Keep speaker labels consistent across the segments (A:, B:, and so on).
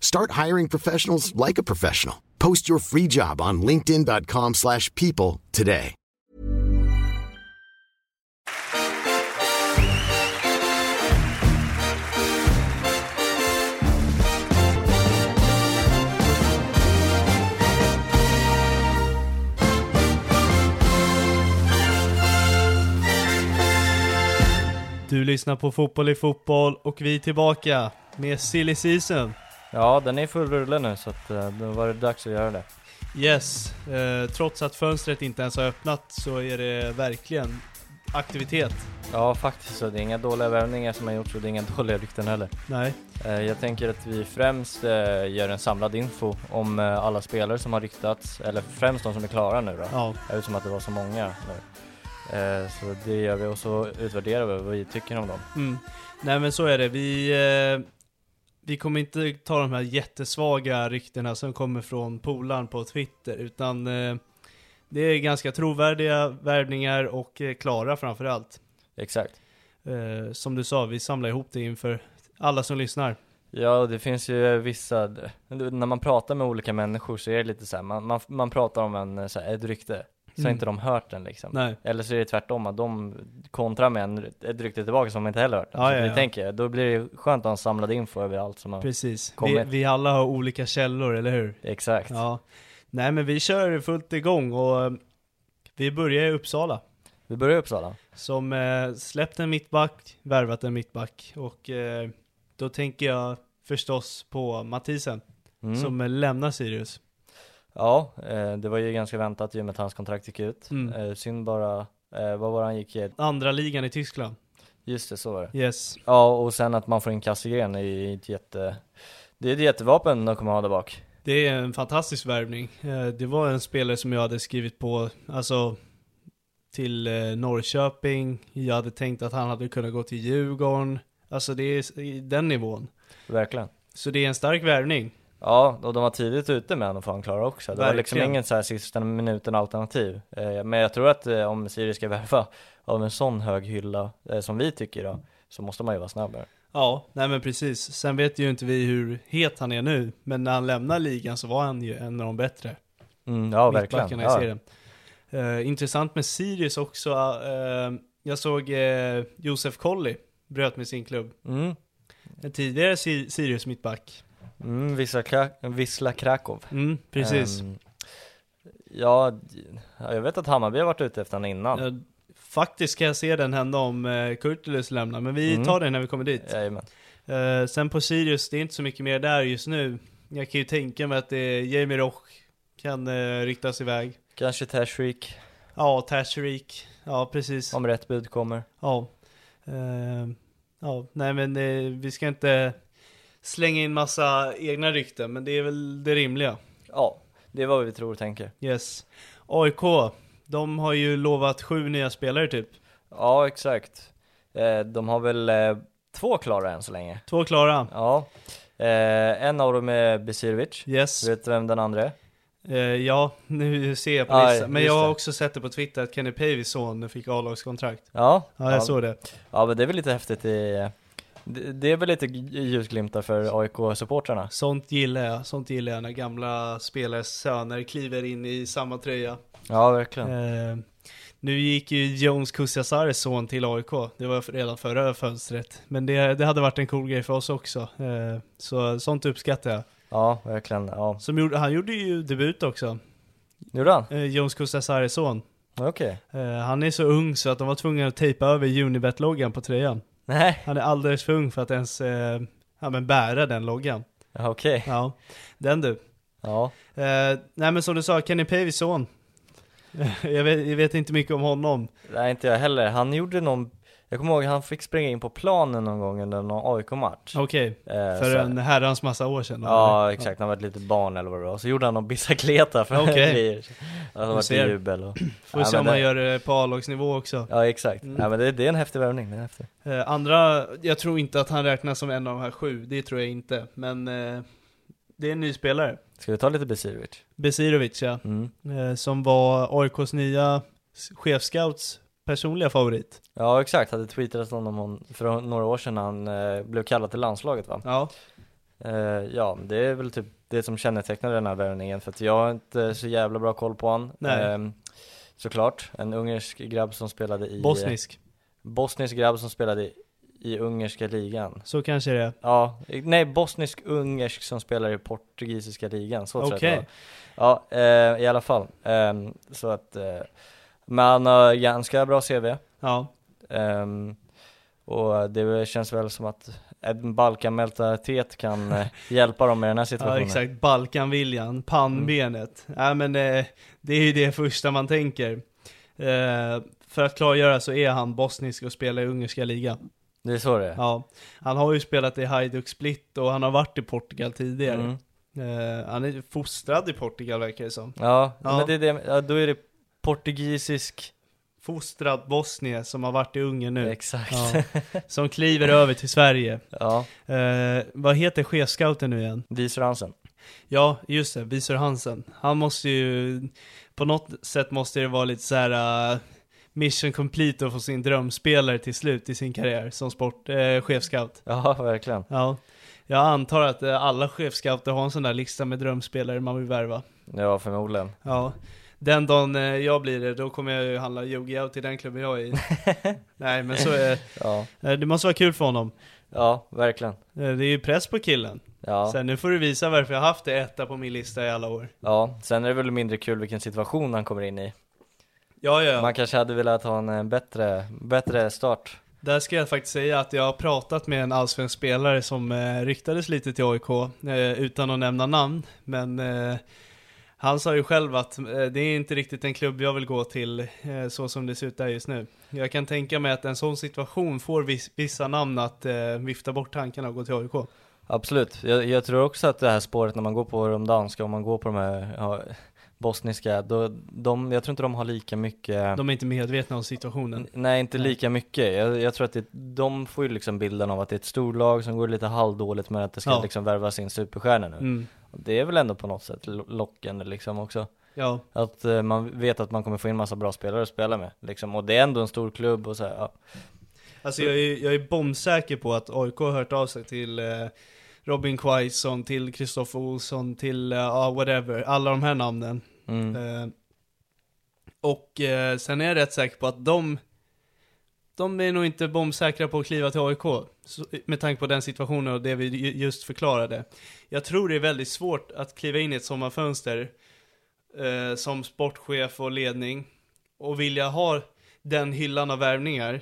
A: Start hiring professionals like a professional. Post your free job on linkedin.com/people slash people today.
B: Du lyssnar på Fotboll i fotboll och vi är tillbaka med Silly Season.
C: Ja, den är i full rulle nu så att, eh, då var det dags att göra det.
B: Yes, eh, trots att fönstret inte ens har öppnat så är det verkligen aktivitet.
C: Ja, faktiskt så. Det är inga dåliga värvningar som har gjorts och det är inga dåliga rykten heller.
B: Nej.
C: Eh, Jag tänker att vi främst eh, gör en samlad info om eh, alla spelare som har ryktats, eller främst de som är klara nu då.
B: Ja.
C: Eftersom att det var så många nu. Eh, Så det gör vi och så utvärderar vi vad vi tycker om dem.
B: Mm. Nej men så är det. Vi, eh, vi kommer inte ta de här jättesvaga ryktena som kommer från polaren på Twitter, utan eh, det är ganska trovärdiga värvningar och eh, klara framförallt.
C: Exakt.
B: Eh, som du sa, vi samlar ihop det inför alla som lyssnar.
C: Ja, och det finns ju vissa, d- när man pratar med olika människor så är det lite så här, man, man, man pratar om en, eh, så här, ett rykte, så har
B: Mm.
C: inte de hört den liksom.
B: Nej.
C: Eller så är det tvärtom, att de kontrar med en, ett rykte tillbaka som de inte heller hört.
B: Ja,
C: så
B: ja,
C: vi
B: ja.
C: tänker, då blir det skönt att ha en samlad info över allt som har...
B: Precis. Vi,
C: Kommer.
B: vi alla har olika källor, eller hur?
C: Exakt.
B: Ja. Nej men vi kör fullt igång och eh, vi börjar i Uppsala.
C: Vi börjar i Uppsala.
B: Som eh, släppt en mittback, värvat en mittback och eh, då tänker jag förstås på Mathisen
C: Mm.
B: som eh, lämnar Sirius.
C: Ja, eh, det var ju ganska väntat i och med att hans kontrakt gick ut.
B: Mm.
C: Eh, synd bara, eh, vad var det han gick i?
B: Andra ligan i Tyskland.
C: Just det, så var det.
B: Yes.
C: Ja, och sen att man får in Kassegren är ett jätte... Det är ett jättevapen de kommer ha där bak.
B: Det är en fantastisk värvning. Eh, det var en spelare som jag hade skrivit på, alltså till eh, Norrköping. Jag hade tänkt att han hade kunnat gå till Djurgården. Alltså det är s- i den nivån.
C: Verkligen.
B: Så det är en stark värvning.
C: Ja, och de var tidigt ute med honom för han klara också. Det var liksom
B: Verkligen.
C: ingen så här sista minuten alternativ. Eh, men jag tror att eh, om Sirius ska värva av en sån hög hylla eh, som vi tycker då, så måste man ju vara snabbare.
B: Ja, nej men precis. Sen vet ju inte vi hur het han är nu, men när han lämnar ligan så var han ju en av de bättre
C: Mm, ja, verkligen.
B: mittbackarna i
C: Ja.
B: serien. Eh, intressant med Sirius också, eh, jag såg eh, Josef Colley bröt med sin klubb.
C: Mm,
B: En tidigare Si- Sirius mittback.
C: mm, vissa Kra- Wisla Krakow.
B: Mm, precis.
C: Ehm, ja, d- ja, jag vet att Hammarby har varit ute efter honom innan.
B: Eh, faktiskt kan jag se den hända om eh, Kurtulus lämnar, men vi
C: Mm.
B: tar den när vi kommer dit.
C: Jajamän.
B: Eh, sen på Sirius, det är inte så mycket mer där just nu. Jag kan ju tänka mig att det är Jamie Roch kan eh, ryktas iväg.
C: Kanske Tashreek,
B: Ja, Tashreek. Ja, precis.
C: om rätt bud kommer.
B: Ja. Ehm, ja, nej men eh, vi ska inte slänga in massa egna rykten, men det är väl det rimliga.
C: Ja, det är vad vi tror och tänker.
B: Yes. AIK, de har ju lovat sju nya spelare typ.
C: Ja, exakt. Eh, de har väl eh, två klara än så länge.
B: Två klara.
C: Ja, eh, en av dem är Besirovic.
B: Yes.
C: Vet du vem den andra är?
B: Eh, ja, nu ser jag på
C: Ja,
B: listan. Men
C: just
B: jag har
C: det.
B: också sett det på Twitter att Kenny Pavys son fick A-lagskontrakt.
C: Ja,
B: Ja, jag såg det.
C: ja men det är väl lite häftigt i det, det är väl lite g- ljusglimtar för AIK-supportrarna
B: Sånt gillar jag. Sånt gillar jag när gamla spelares söner kliver in i samma tröja.
C: Ja verkligen
B: Eh, nu gick ju Jones Kusiasares son till AIK, det var redan förra fönstret. Men det, det hade varit en cool grej för oss också. Eh, så sånt uppskattar jag.
C: Ja verkligen, ja
B: Som gjorde, han gjorde ju debut också,
C: Gjorde han?
B: eh, Jones Kusiasares son.
C: Okej
B: Eh, han är så ung så att de var tvungna att tejpa över Unibet-loggan på tröjan.
C: Nej,
B: Han är alldeles för ung för att ens eh, ja, men bära den loggan.
C: Ja, okej
B: Ja, den du.
C: Ja,
B: Eh, nej men som du sa, Kenny Pavys son. jag, vet, jag vet inte mycket om honom.
C: nej inte jag heller Han gjorde någon Jag kommer ihåg han fick springa in på planen någon gång under någon AIK-match
B: Okej,
C: Eh,
B: för
C: så-
B: en herrans massa år sedan. då,
C: Ja
B: eller?
C: exakt, han var ett litet barn eller vad det var, och så gjorde han någon bicicleta för
B: Okej.
C: grejer Alltså det
B: Du
C: var
B: ser.
C: till jubel och
B: Får vi
C: Ja,
B: se
C: men
B: om
C: det-
B: han gör det på A-lagsnivå också.
C: Ja exakt,
B: Mm.
C: ja, men det, det är en häftig värvning, det är en häftig
B: Eh, andra, jag tror inte att han räknas som en av de här sju, det tror jag inte. Men eh, det är en ny spelare.
C: Ska vi ta lite Besirovic?
B: Besirovic ja,
C: Mm.
B: eh, som var AIKs nya chefscouts personliga favorit.
C: Ja exakt, hade tweetat om honom för några år sedan när han eh, blev kallad till landslaget va?
B: Ja,
C: Eh, ja, det är väl typ det som kännetecknar den här värvningen för att jag har inte så jävla bra koll på han
B: Nej.
C: Ehm, Såklart, en ungersk grabb som spelade i
B: bosnisk.
C: Bosnisk grabb som spelade i, i ungerska ligan
B: Så kanske det är.
C: Ja, nej bosnisk-ungersk som spelar i portugisiska ligan, så tror jag
B: Okej.
C: det var. Ja, eh, i alla fall. Ehm, så att, eh, men han har ganska bra CV.
B: Ja,
C: ehm, och det känns väl som att en Balkan-mentalitet kan eh, hjälpa dem i den här situationen.
B: ja exakt. Balkanviljan, pannbenet.
C: Mm.
B: Ja, men eh, det är ju det första man tänker. Eh, för att klargöra så är han bosnisk och spelar i ungerska ligan.
C: Det är så det är.
B: Ja, han har ju spelat i Hajduk Split och han har varit i Portugal tidigare.
C: Mm.
B: Eh, han är fostrad i Portugal verkar det som.
C: Ja,
B: Ja.
C: men det är det, ja, då är det portugisisk,
B: Fostrad bosnier som har varit i Ungern nu.
C: exakt.
B: Ja. Som kliver över till Sverige.
C: Ja,
B: Eh, vad heter chefscouten nu igen?
C: Wiesel Hansen.
B: Ja, just det, Visor Hansen. Han måste ju, på något sätt måste det vara lite så här eh, mission complete att få sin drömspelare till slut i sin karriär som sport, uh, chefscout.
C: Ja, verkligen.
B: Ja. Jag antar att eh, alla chefscouter har en sån där lista med drömspelare man vill värva.
C: Ja, förmodligen.
B: Ja. Den dagen eh, jag blir det, då kommer jag ju handla Yu-Gi-Oh till den klubben jag är i. Nej men så är
C: Ja,
B: eh, det. måste vara kul för honom.
C: ja verkligen.
B: Eh, Det är ju press på killen.
C: Ja.
B: Sen nu får du visa varför jag har haft det etta på min lista i alla år.
C: Ja, sen är det väl mindre kul vilken situation han kommer in i.
B: Ja, ja, ja.
C: Man kanske hade velat ha en eh, bättre, bättre start.
B: Där ska jag faktiskt säga att jag har pratat med en allsvensk spelare som eh, ryktades lite till AIK, eh, utan att nämna namn. Men eh, han sa ju själv att eh, det är inte riktigt en klubb jag vill gå till eh, så som det ser ut där just nu. Jag kan tänka mig att en sån situation får vis- vissa namn att eh, vifta bort tankarna och gå till AIK.
C: Absolut, jag, jag tror också att det här spåret när man går på de danska och man går på de här ja, bosniska, då, de, jag tror inte de har lika mycket
B: De är inte medvetna om situationen.
C: Nej inte lika mycket, jag, jag tror att det, de får ju liksom bilden av att det är ett storlag som går lite halvdåligt men att det ska
B: Ja.
C: liksom värvas in superstjärnor nu.
B: Mm.
C: Det är väl ändå på något sätt lo- lockande liksom också.
B: Ja,
C: Att eh, man vet att man kommer få in massa bra spelare att spela med liksom, och det är ändå en stor klubb och så här, ja.
B: alltså jag är, jag är bombsäker på att AIK har hört av sig till eh, Robin Quaison, till Kristoffer Olsson, till eh, ja, whatever, alla de här namnen.
C: Mm.
B: Eh, och eh, sen är jag rätt säker på att de, de är nog inte bombsäkra på att kliva till AIK. Så, med tanke på den situationen och det vi ju- just förklarade. Jag tror det är väldigt svårt att kliva in i ett sommarfönster eh, som sportchef och ledning och vilja ha den hyllan av värvningar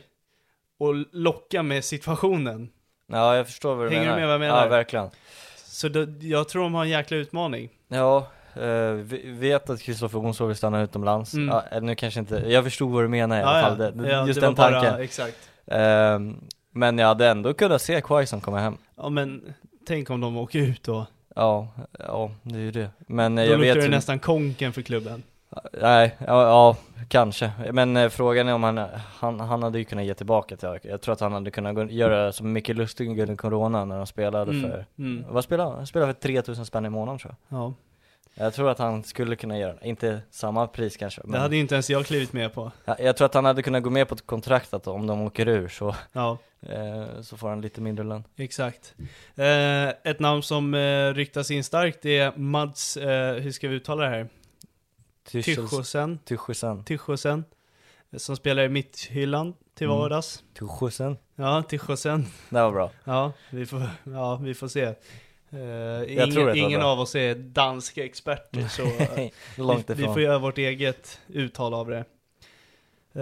B: och locka med situationen.
C: Ja, jag förstår vad du
B: Hänger du
C: menar.
B: med vad jag menar?
C: Ja, verkligen.
B: Så då, jag tror de har en jäkla utmaning.
C: Ja, eh, vi vet att Kristoffer Onsåg vill stanna utomlands.
B: Mm.
C: Ja, eh, nu kanske inte, jag förstod vad du menar i alla fall. Det, det-
B: Ja,
C: just
B: det
C: den
B: var bara-
C: tanken.
B: Exakt.
C: Ehm, men jag hade ändå kunnat se Quaison komma hem.
B: Ja men tänk om de åker ut då.
C: Ja, ja, det är ju det. Men eh,
B: Då
C: jag
B: luktar
C: vet
B: det
C: hur-
B: nästan konken för klubben.
C: Nej, ja, ja, kanske. Men eh, frågan är om han, han, han hade ju kunnat ge tillbaka till AIK. Jag tror att han hade kunnat gå, göra som Micke Lustig under Corona när han spelade
B: Mm,
C: för,
B: mm.
C: vad spelade han? Han spelade för 3000 spänn i månaden tror jag.
B: Ja.
C: Jag tror att han skulle kunna göra det, inte samma pris kanske
B: Det
C: men
B: hade ju inte ens jag klivit med på.
C: jag, jag tror att han hade kunnat gå med på ett kontrakt att om de åker ur så,
B: Ja,
C: eh, så får han lite mindre lön
B: exakt. Eh, ett namn som eh, ryktas in starkt är Mads, eh, hur ska vi uttala det här? Tychosen.
C: Tychosen
B: Tychosen. eh, Som spelar i mitthyllan till
C: Mm.
B: vardags.
C: Tychosen
B: Ja, Tychosen.
C: Det var bra
B: Ja, vi får, ja, vi får se. Eh,
C: tror det
B: ingen
C: var
B: ingen
C: bra.
B: av oss är danska experter så eh,
C: Långt
B: vi, vi
C: ifrån
B: får göra vårt eget uttal av det.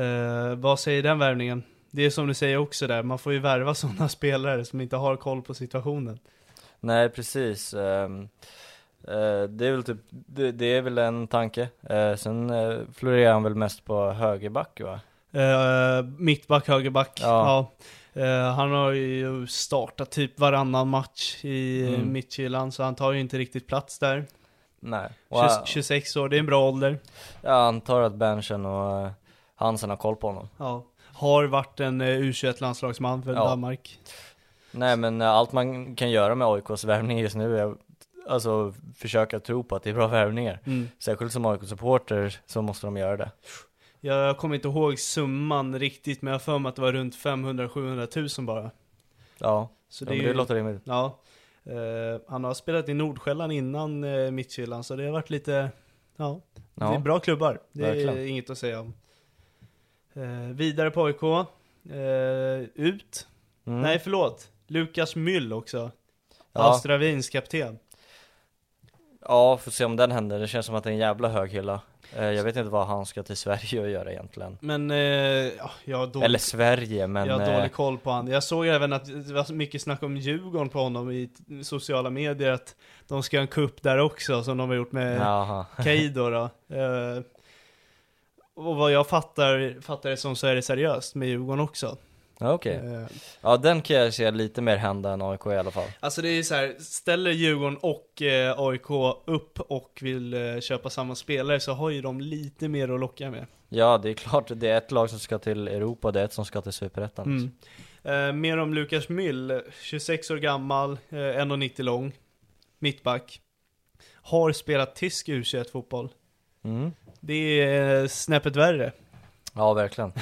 B: Eh, vad säger den värvningen? Det är som du säger också där, man får ju värva sådana spelare som inte har koll på situationen.
C: Nej precis Ehm, eh, Det är väl typ, det, det är väl en tanke Eh, Sen eh, florerar han väl mest på högerback va?
B: Eh, mittback, högerback. Ja.
C: Ja.
B: Eh, han har ju startat typ varannan match i eh,
C: Mm.
B: mittkylan, så han tar ju inte riktigt plats där.
C: Nej Och,
B: 20,
C: eh,
B: 26 år, det är en bra ålder.
C: Jag antar att Benchen och eh, Hansen har koll på honom
B: Ja, har varit en eh, U21-landslagsman för
C: Ja.
B: Danmark.
C: Nej men eh, allt man kan göra med AIKs värvning just nu är Alltså försöka tro på att det är bra värvningar Särskilt som AIK-supporter så måste de göra det
B: Jag kommer inte ihåg summan riktigt, men jag har för mig att det var runt 500-700 000 bara.
C: Ja,
B: Så
C: det,
B: det,
C: ja,
B: är
C: men
B: ju,
C: det låter rimligt
B: Ja. Eh, han har spelat i Nordsjälland innan uh, Midtjylland, så det har varit lite... Ja, det är
C: ja.
B: bra klubbar. Det är
C: Verkligen.
B: inget att säga om. Eh, vidare på AIK. Eh, ut.
C: Mm.
B: Nej, förlåt. Lukas Myll också.
C: ja.
B: Astra Wiens kapten.
C: ja, får se om den händer, det känns som att det är en jävla hög hylla Eh, Jag vet inte vad han ska till Sverige och göra egentligen
B: Men eh, ja, jag har dålig
C: Eller Sverige men
B: jag har
C: eh,
B: dålig koll på han. Jag såg även att det var så mycket snack om Djurgården på honom i t- sociala medier, att de ska ha en kupp där också, som de har gjort med
C: Jaha,
B: Kaido då. Eh, och vad jag fattar, fattar det som så är det seriöst med Djurgården också.
C: Ja, okej
B: Eh,
C: Ja den kan jag se lite mer hända än AIK i alla fall
B: alltså det är så här, ställer Djurgården och eh, AIK upp och vill eh, köpa samma spelare så har ju de lite mer att locka med.
C: Ja det är klart, det är ett lag som ska till Europa och det är ett som ska till Superettan
B: Mm.
C: liksom.
B: Eh, mer om Lukas Myll, 26 år gammal, eh, 1,90 lång, mittback. Har spelat tysk U21-fotboll.
C: mm.
B: Det är eh, snäppet värre.
C: Ja verkligen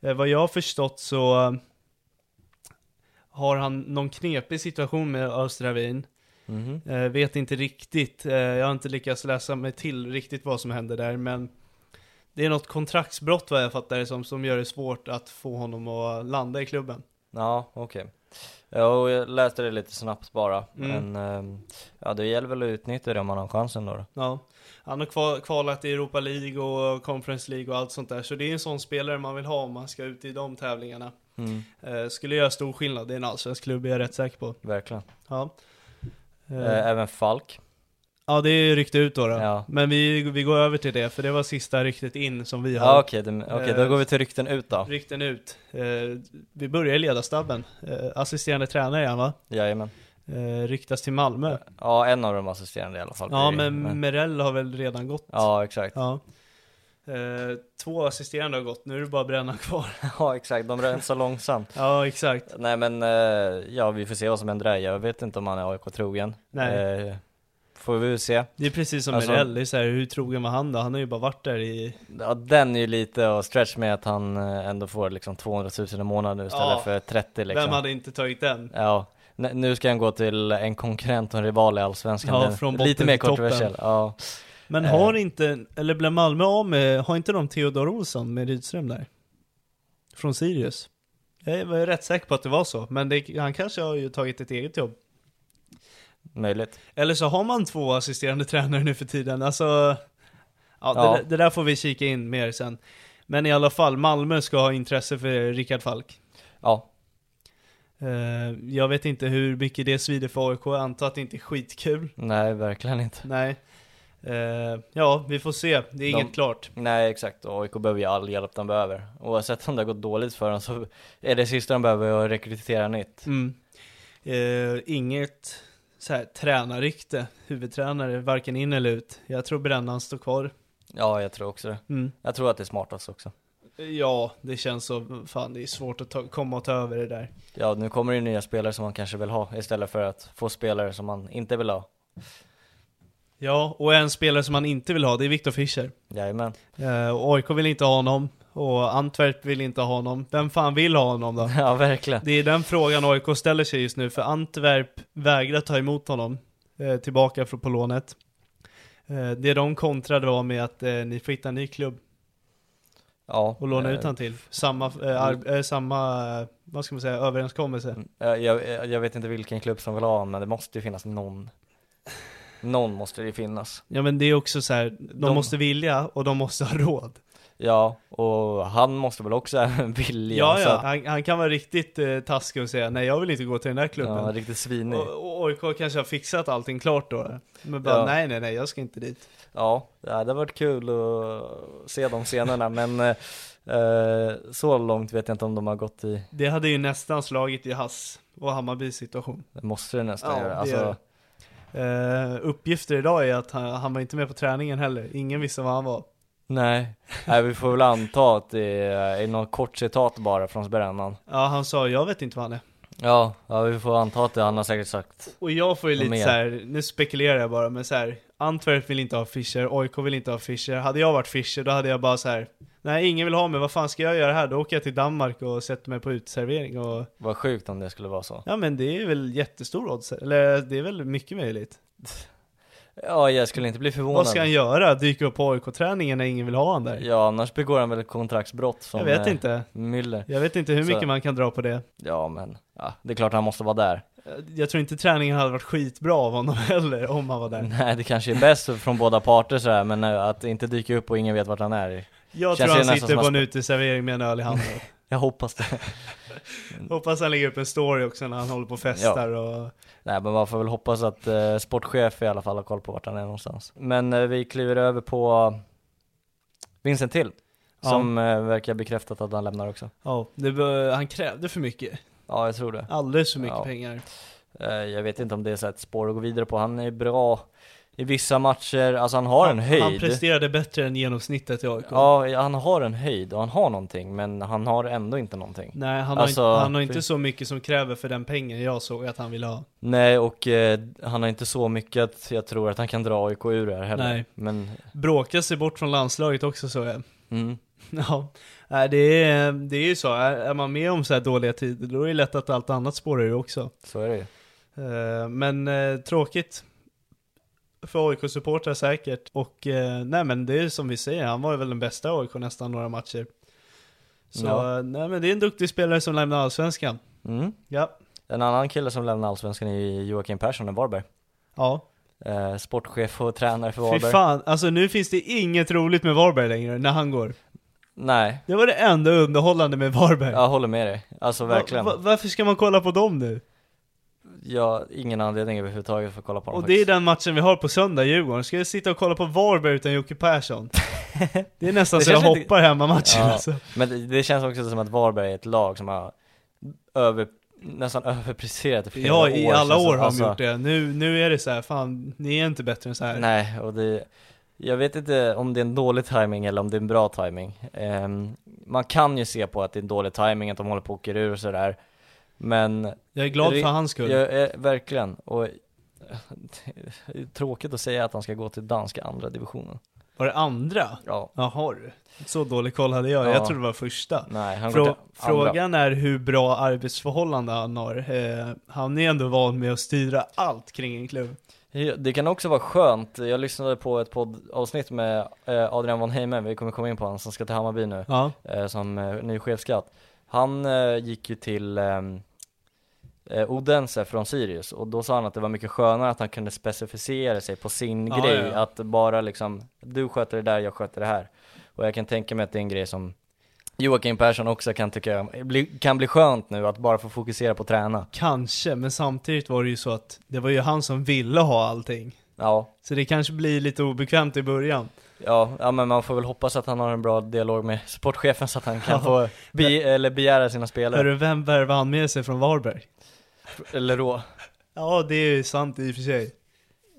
B: Eh, vad jag har förstått så eh, har han någon knepig situation med Östra Wien.
C: Mhm.
B: Eh, vet inte riktigt, eh, jag har inte lyckats läsa mig till riktigt vad som hände där, men det är något kontraktsbrott vad jag fattar det som, som gör det svårt att få honom att landa i klubben.
C: Ja, okej. Ja, och jag läste det lite snabbt bara,
B: Mm.
C: men ehm, ja, det gäller väl att utnyttja det om man har chansen då. då.
B: Ja, han har kval- kvalat i Europa League och Conference League och allt sånt där. Så det är en sån spelare man vill ha om man ska ut i de tävlingarna.
C: Mm.
B: Eh, skulle göra stor skillnad, det är en allsvensk klubb, är jag rätt säker på.
C: Verkligen.
B: Ja,
C: Eh,
B: eh,
C: Även Falk.
B: ja det är rykte ut då. då.
C: Ja.
B: Men vi, vi går över till det, för det var sista ryktet in som vi
C: Ja,
B: har.
C: okej, det- okej
B: Eh,
C: då går vi till rykten ut då.
B: Rykten ut. Eh, vi börjar i ledarstabben. Eh, assisterande tränare igen va?
C: Jajamän.
B: Eh, ryktas till Malmö.
C: Ja, en av de assisterande i alla fall.
B: Ja,
C: blir det,
B: men Merell har väl redan gått?
C: Ja, exakt.
B: Ja. Eh, två assisterande har gått, nu är det bara bränna kvar.
C: Ja, exakt. De rensar långsamt.
B: Ja, exakt.
C: Nej, men eh, ja, vi får se vad som händer där. Jag vet inte om han är AIK-trogen.
B: Nej.
C: Eh, får vi se.
B: Det är precis som
C: Alltså-
B: Mirell, det är så här, hur trogen var han då? Han har ju bara varit där i...
C: Ja, den är ju lite att stretch med att han eh, ändå får liksom 200 000 i månaden nu istället
B: Ja.
C: för 30 liksom.
B: Vem hade inte tagit den?
C: Ja, n- nu ska han gå till en konkurrent och en rival i Allsvenskan.
B: Ja,
C: Den-
B: från botten
C: Lite mer
B: till toppen.
C: kontroversiell. Ja.
B: Men
C: Eh.
B: har inte, eller blev Malmö av med, har inte de Theodor Olsson med Rydström där? Från Sirius? Jag var ju rätt säker på att det var så, men det, han kanske har ju tagit ett eget jobb.
C: Möjligt.
B: Eller så har man två assisterande tränare nu för tiden, alltså... Ja,
C: Ja.
B: Det, det där får vi kika in mer sen. Men i alla fall, Malmö ska ha intresse för Rickard Falk.
C: Ja,
B: Eh, jag vet inte hur mycket det svider för AIK, jag antar att det inte är skitkul.
C: nej verkligen inte.
B: Nej. Eh, ja, vi får se. Det är
C: De-
B: inget klart.
C: Nej exakt, och AIK behöver ju all hjälp de behöver. Oavsett om det har gått dåligt för dem så är det sista de behöver att rekrytera nytt.
B: Mm. Eh, inget så här, tränarrykte, huvudtränare, varken in eller ut. Jag tror Brännan står kvar.
C: Ja, jag tror också det.
B: Mm.
C: Jag tror att det är smartast också.
B: Eh, Ja, det känns så. Fan, det är svårt att ta, komma och ta över det där.
C: Ja, nu kommer det ju nya spelare som man kanske vill ha istället för att få spelare som man inte vill ha.
B: Ja, och en spelare som man inte vill ha, det är Viktor Fischer.
C: Jajamän.
B: Eh, och AIK vill inte ha honom, och Antwerp vill inte ha honom. Vem fan vill ha honom då?
C: Ja, verkligen.
B: Det är den frågan AIK ställer sig just nu, för Antwerp vägrar ta emot honom eh, tillbaka från på lånet. Eh, det de kontrade var med att eh, ni får hitta en ny klubb
C: Ja.
B: och låna
C: eh, Mm.
B: ut han till. Samma, eh, ar- eh, samma eh, vad ska man säga, överenskommelse.
C: eh, Jag, jag, jag vet inte vilken klubb som vill ha honom, men det måste ju finnas någon. Någon måste det ju finnas.
B: Ja men det är också så här, de,
C: De-
B: måste vilja och de måste ha råd.
C: Ja, och han måste väl också även vilja.
B: Ja,
C: så
B: ja,
C: att-
B: han, han kan vara riktigt eh, taskig och säga nej jag vill inte gå till den här klubben.
C: ja riktigt svinig.
B: och, och AIK kanske har fixat allting klart då. Men bara
C: Ja.
B: nej nej nej, jag ska inte dit.
C: Ja, det hade varit kul att se de scenerna, men eh, eh, så långt vet jag inte om de har gått i.
B: Det hade ju nästan slagit i Hass och Hammarbys situation.
C: Det måste det nästan
B: Ja,
C: göra.
B: det
C: Alltså,
B: gör det. Eh, uppgifter idag är att han, han var inte med på träningen heller, ingen visste vad han var.
C: nej. nej, vi får väl anta att det är, är något kort citat bara från brännan.
B: Ja han sa jag vet inte vad han är.
C: Ja, ja, vi får anta att det, han har säkert sagt.
B: Och jag får ju
C: Och
B: lite
C: mer.
B: så här, nu spekulerar jag bara men så här, Antwerp vill inte ha Fischer, AIK vill inte ha Fischer. Hade jag varit Fischer då hade jag bara så här. nej ingen vill ha mig, vad fan ska jag göra här? Då åker jag till Danmark och sätter mig på uteservering och
C: Vad sjukt om det skulle vara så.
B: Ja men det är väl jättestor odds, eller det är väl mycket möjligt.
C: Ja, jag skulle inte bli förvånad.
B: Vad ska han göra? Dyka upp på AIK-träningen när ingen vill ha han där?
C: Ja, annars begår han väl ett kontraktsbrott som
B: Jag vet
C: eh,
B: inte.
C: Müller.
B: Jag vet inte hur
C: Så-
B: mycket man kan dra på det.
C: Ja, men ja, det är klart han måste vara där.
B: Jag tror inte träningen hade varit skitbra av honom heller om han var där.
C: Nej, det kanske är bäst från båda parter sådär, men eh, att inte dyka upp och ingen vet vart han är.
B: Jag
C: Känns
B: tror
C: det
B: han
C: nästan
B: sitter
C: som
B: på
C: att-
B: en uteservering med en öl i handen.
C: Jag hoppas det. Mm.
B: Hoppas han lägger upp en story också när han håller på och festar och...
C: Nej, men man får väl hoppas att eh, sportchef i alla fall har koll på vart han är någonstans. Men eh, vi kliver över på Vincent Till,
B: Ja.
C: som eh, verkar bekräftat att han lämnar också.
B: Ja, det, var- han krävde för mycket.
C: Ja, jag tror det.
B: Alldeles för mycket
C: Ja.
B: pengar.
C: Eh, jag vet inte om det är så här ett spår att gå vidare på. Han är bra i vissa matcher, alltså han har en höjd.
B: Han presterade bättre än genomsnittet i AIK.
C: Ja, han har en höjd och han har någonting, men han har ändå inte någonting.
B: Nej, han,
C: Alltså,
B: har, inte- han har
C: för-
B: inte så mycket som kräver för den pengen jag såg att han ville ha.
C: Nej, och eh, han har inte så mycket att jag tror att han kan dra AIK ur det här heller.
B: Nej.
C: Men,
B: Bråkar sig bort från landslaget också så jag.
C: mm,
B: Ja, Nej, det är, det är ju så. Är är man med om så här dåliga tider då är det lätt att allt annat spårar ur också.
C: så är det ju.
B: Eh, Men eh, tråkigt för AIK-supportrar säkert. Och eh, nej men det är som vi säger, han var ju väl den bästa i AIK nästan några matcher. Så
C: Ja.
B: eh, nej men det är en duktig spelare som lämnar Allsvenskan.
C: Mm.
B: Ja,
C: En annan kille som lämnar Allsvenskan är Joakim Persson i Varberg.
B: ja.
C: Eh, sportchef och tränare för
B: Fy
C: Varberg.
B: fan, alltså nu finns det inget roligt med Varberg längre när han går.
C: Nej,
B: Det var det enda underhållande med Varberg.
C: jag håller med dig. Alltså verkligen.
B: Va- va- varför ska man kolla på dem nu?
C: Jag ingen anledning överhuvudtaget för att kolla på honom
B: Och det är den matchen vi har på söndag, Djurgården. Ska jag sitta och kolla på Varberg utan Jocke Persson? Det är nästan
C: Det
B: så jag
C: känns lite-
B: hoppar hemmamatchen
C: Ja.
B: alltså.
C: Men det, det känns också som att Varberg är ett lag som har över, nästan överpresterat i flera
B: Ja, i
C: år,
B: alla
C: känns det
B: år
C: som.
B: har de
C: Alltså,
B: gjort det. Nu, nu är det så här, fan, ni är inte bättre än så här.
C: Nej, och det, jag vet inte om det är en dålig timing eller om det är en bra timing. Ehm, man kan ju se på att det är en dålig timing att de håller på och åker ur och sådär. Men
B: Jag är glad
C: Det-
B: för hans skull.
C: jag är verkligen, och det är tråkigt att säga att han ska gå till danska andra divisionen.
B: Var det andra?
C: Ja,
B: Jaha du. Så dålig koll hade jag.
C: Ja.
B: Jag trodde det var första.
C: nej, han går
B: Frå-
C: till andra.
B: frågan är hur bra arbetsförhållanden han har. Eh, han är ändå van med att styra allt kring en klubb.
C: Det kan också vara skönt, jag lyssnade på ett poddavsnitt med eh, Adrian von Heimen, vi kommer komma in på honom, som ska till Hammarby nu.
B: Ja.
C: eh, som eh, ny chefskatt. Han eh, gick ju till ehm, eh, Odense från Sirius och då sa han att det var mycket skönare att han kunde specificera sig på sin
B: Ja,
C: grej.
B: ja, ja.
C: Att bara liksom, du sköter det där, jag sköter det här. Och jag kan tänka mig att det är en grej som Joakim Persson också kan tycka bli, kan bli skönt nu, att bara få fokusera på att träna.
B: Kanske, men samtidigt var det ju så att det var ju han som ville ha allting.
C: Ja,
B: Så det kanske blir lite obekvämt i början.
C: ja, ja men man får väl hoppas att han har en bra dialog med sportchefen så att han kan
B: Ja.
C: få be, eller begära sina spelare.
B: Hörru, vem värvade han med sig från Varberg?
C: Eller då.
B: Ja, det är ju sant i och för sig.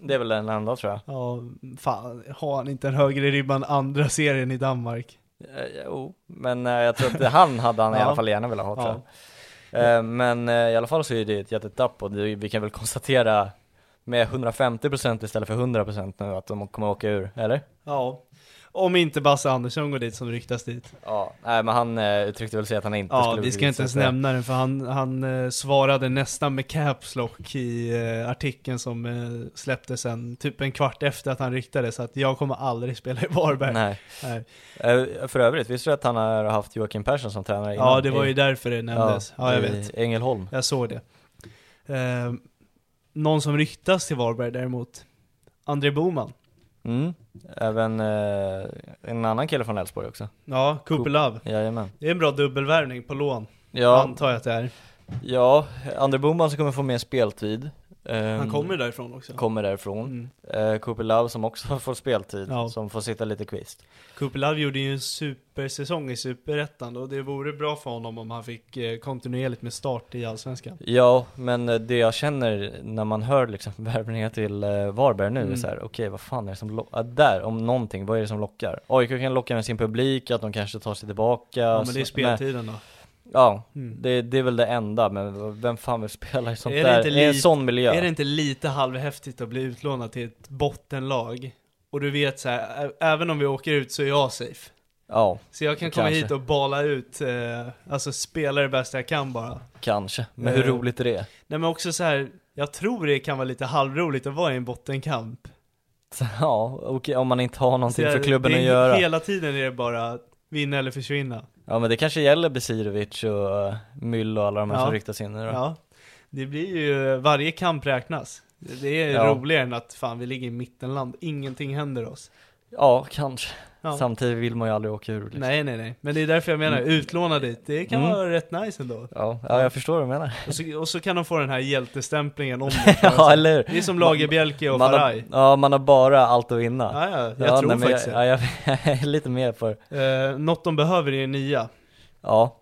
C: Det är väl den enda tror jag.
B: Ja, fan, har han inte en högre ribba än andra serien i Danmark?
C: Eh, Jo, men eh, jag tror att han hade han i
B: Ja.
C: alla fall gärna velat ha tror jag. Eh, Men eh, i alla fall så är det ett jättetapp och det, vi kan väl konstatera med 150% istället för 100% nu att de kommer åka ur, eller?
B: Ja. Om inte Basse Andersson går dit som ryktas dit.
C: Ja, nej men han eh, uttryckte väl sig att han inte
B: Ja,
C: skulle
B: vi ska inte ens nämna den för han, han eh, svarade nästan med caps lock i eh, artikeln som eh, släpptes sen, typ en kvart efter att han ryktades, så att jag kommer aldrig spela i Varberg.
C: Nej.
B: Nej.
C: Eh, För övrigt, visste du att han har haft Joakim Persson som tränare innan?
B: Ja, det var
C: I-
B: ju därför det nämndes. Ja, jag
C: i
B: vet.
C: Ängelholm.
B: Jag såg det. Eh, någon som ryktas till Varberg däremot, André Boman.
C: Mm. Även eh, en annan kille från Elfsborg också.
B: Ja, Cooper Love.
C: Jajamän.
B: Det är en bra dubbelvärvning på lån,
C: Ja,
B: antar jag att det är.
C: ja André Boman som kommer få mer speltid. Ehm,
B: Han kommer därifrån också.
C: kommer därifrån.
B: Mm.
C: Eh, Cooper Love som också får speltid,
B: Ja.
C: som får sitta lite kvist.
B: Cooper Love gjorde ju en supersäsong i Superettan och det vore bra för honom om han fick eh, kontinuerligt med start i Allsvenskan.
C: Ja, men eh, det jag känner när man hör liksom värvningar till eh, Varberg nu är
B: Mm.
C: så här, okej vad fan är det som lockar? där, om någonting, vad är det som lockar? AIK kan locka med sin publik, att de kanske tar sig tillbaka.
B: Ja men det är
C: så-
B: speltiden då.
C: men- Ja,
B: Mm.
C: det, det är väl det enda, men vem fan vill spela i sånt
B: Är det
C: där,
B: inte
C: i en
B: lite-
C: sån miljö?
B: Är det inte lite halvhäftigt att bli utlånad till ett bottenlag? Och du vet så här, ä- även om vi åker ut så är jag safe.
C: Ja,
B: Så jag kan komma
C: Kanske.
B: hit och bala ut, eh, alltså spela det bästa jag kan bara.
C: kanske. Men hur
B: Eh.
C: roligt är det?
B: Nej men också så här, jag tror det kan vara lite halvroligt att vara i en bottenkamp.
C: Så, ja, okej, om man inte har någonting
B: Så
C: för
B: jag-
C: klubben
B: det
C: att
B: är-
C: göra.
B: Hela tiden är det bara vinna eller försvinna.
C: Ja men det kanske gäller Besirovic och eh, Müll och alla de här
B: Ja.
C: som ryktas in nu då.
B: Ja, det blir ju, varje kamp räknas. Det är
C: Ja.
B: roligare än att fan vi ligger i mittenland, ingenting händer oss.
C: Ja, kanske.
B: Ja.
C: Samtidigt vill man ju aldrig åka ur liksom.
B: Nej nej nej, men det är därför jag menar utlåna dit, det kan
C: Mm.
B: vara rätt nice ändå.
C: Ja, ja, jag förstår vad du menar.
B: Och så, och så kan de få den här hjältestämplingen om
C: ja, eller hur?
B: Det är som Lagerbielke och
C: man har,
B: Faraj.
C: ja, man har bara allt att vinna.
B: Ja, ja, jag
C: Ja,
B: tror
C: nej, men
B: faktiskt
C: jag, ja, jag, jag är lite med för,
B: det. Eh, Något de behöver är en nia.
C: ja.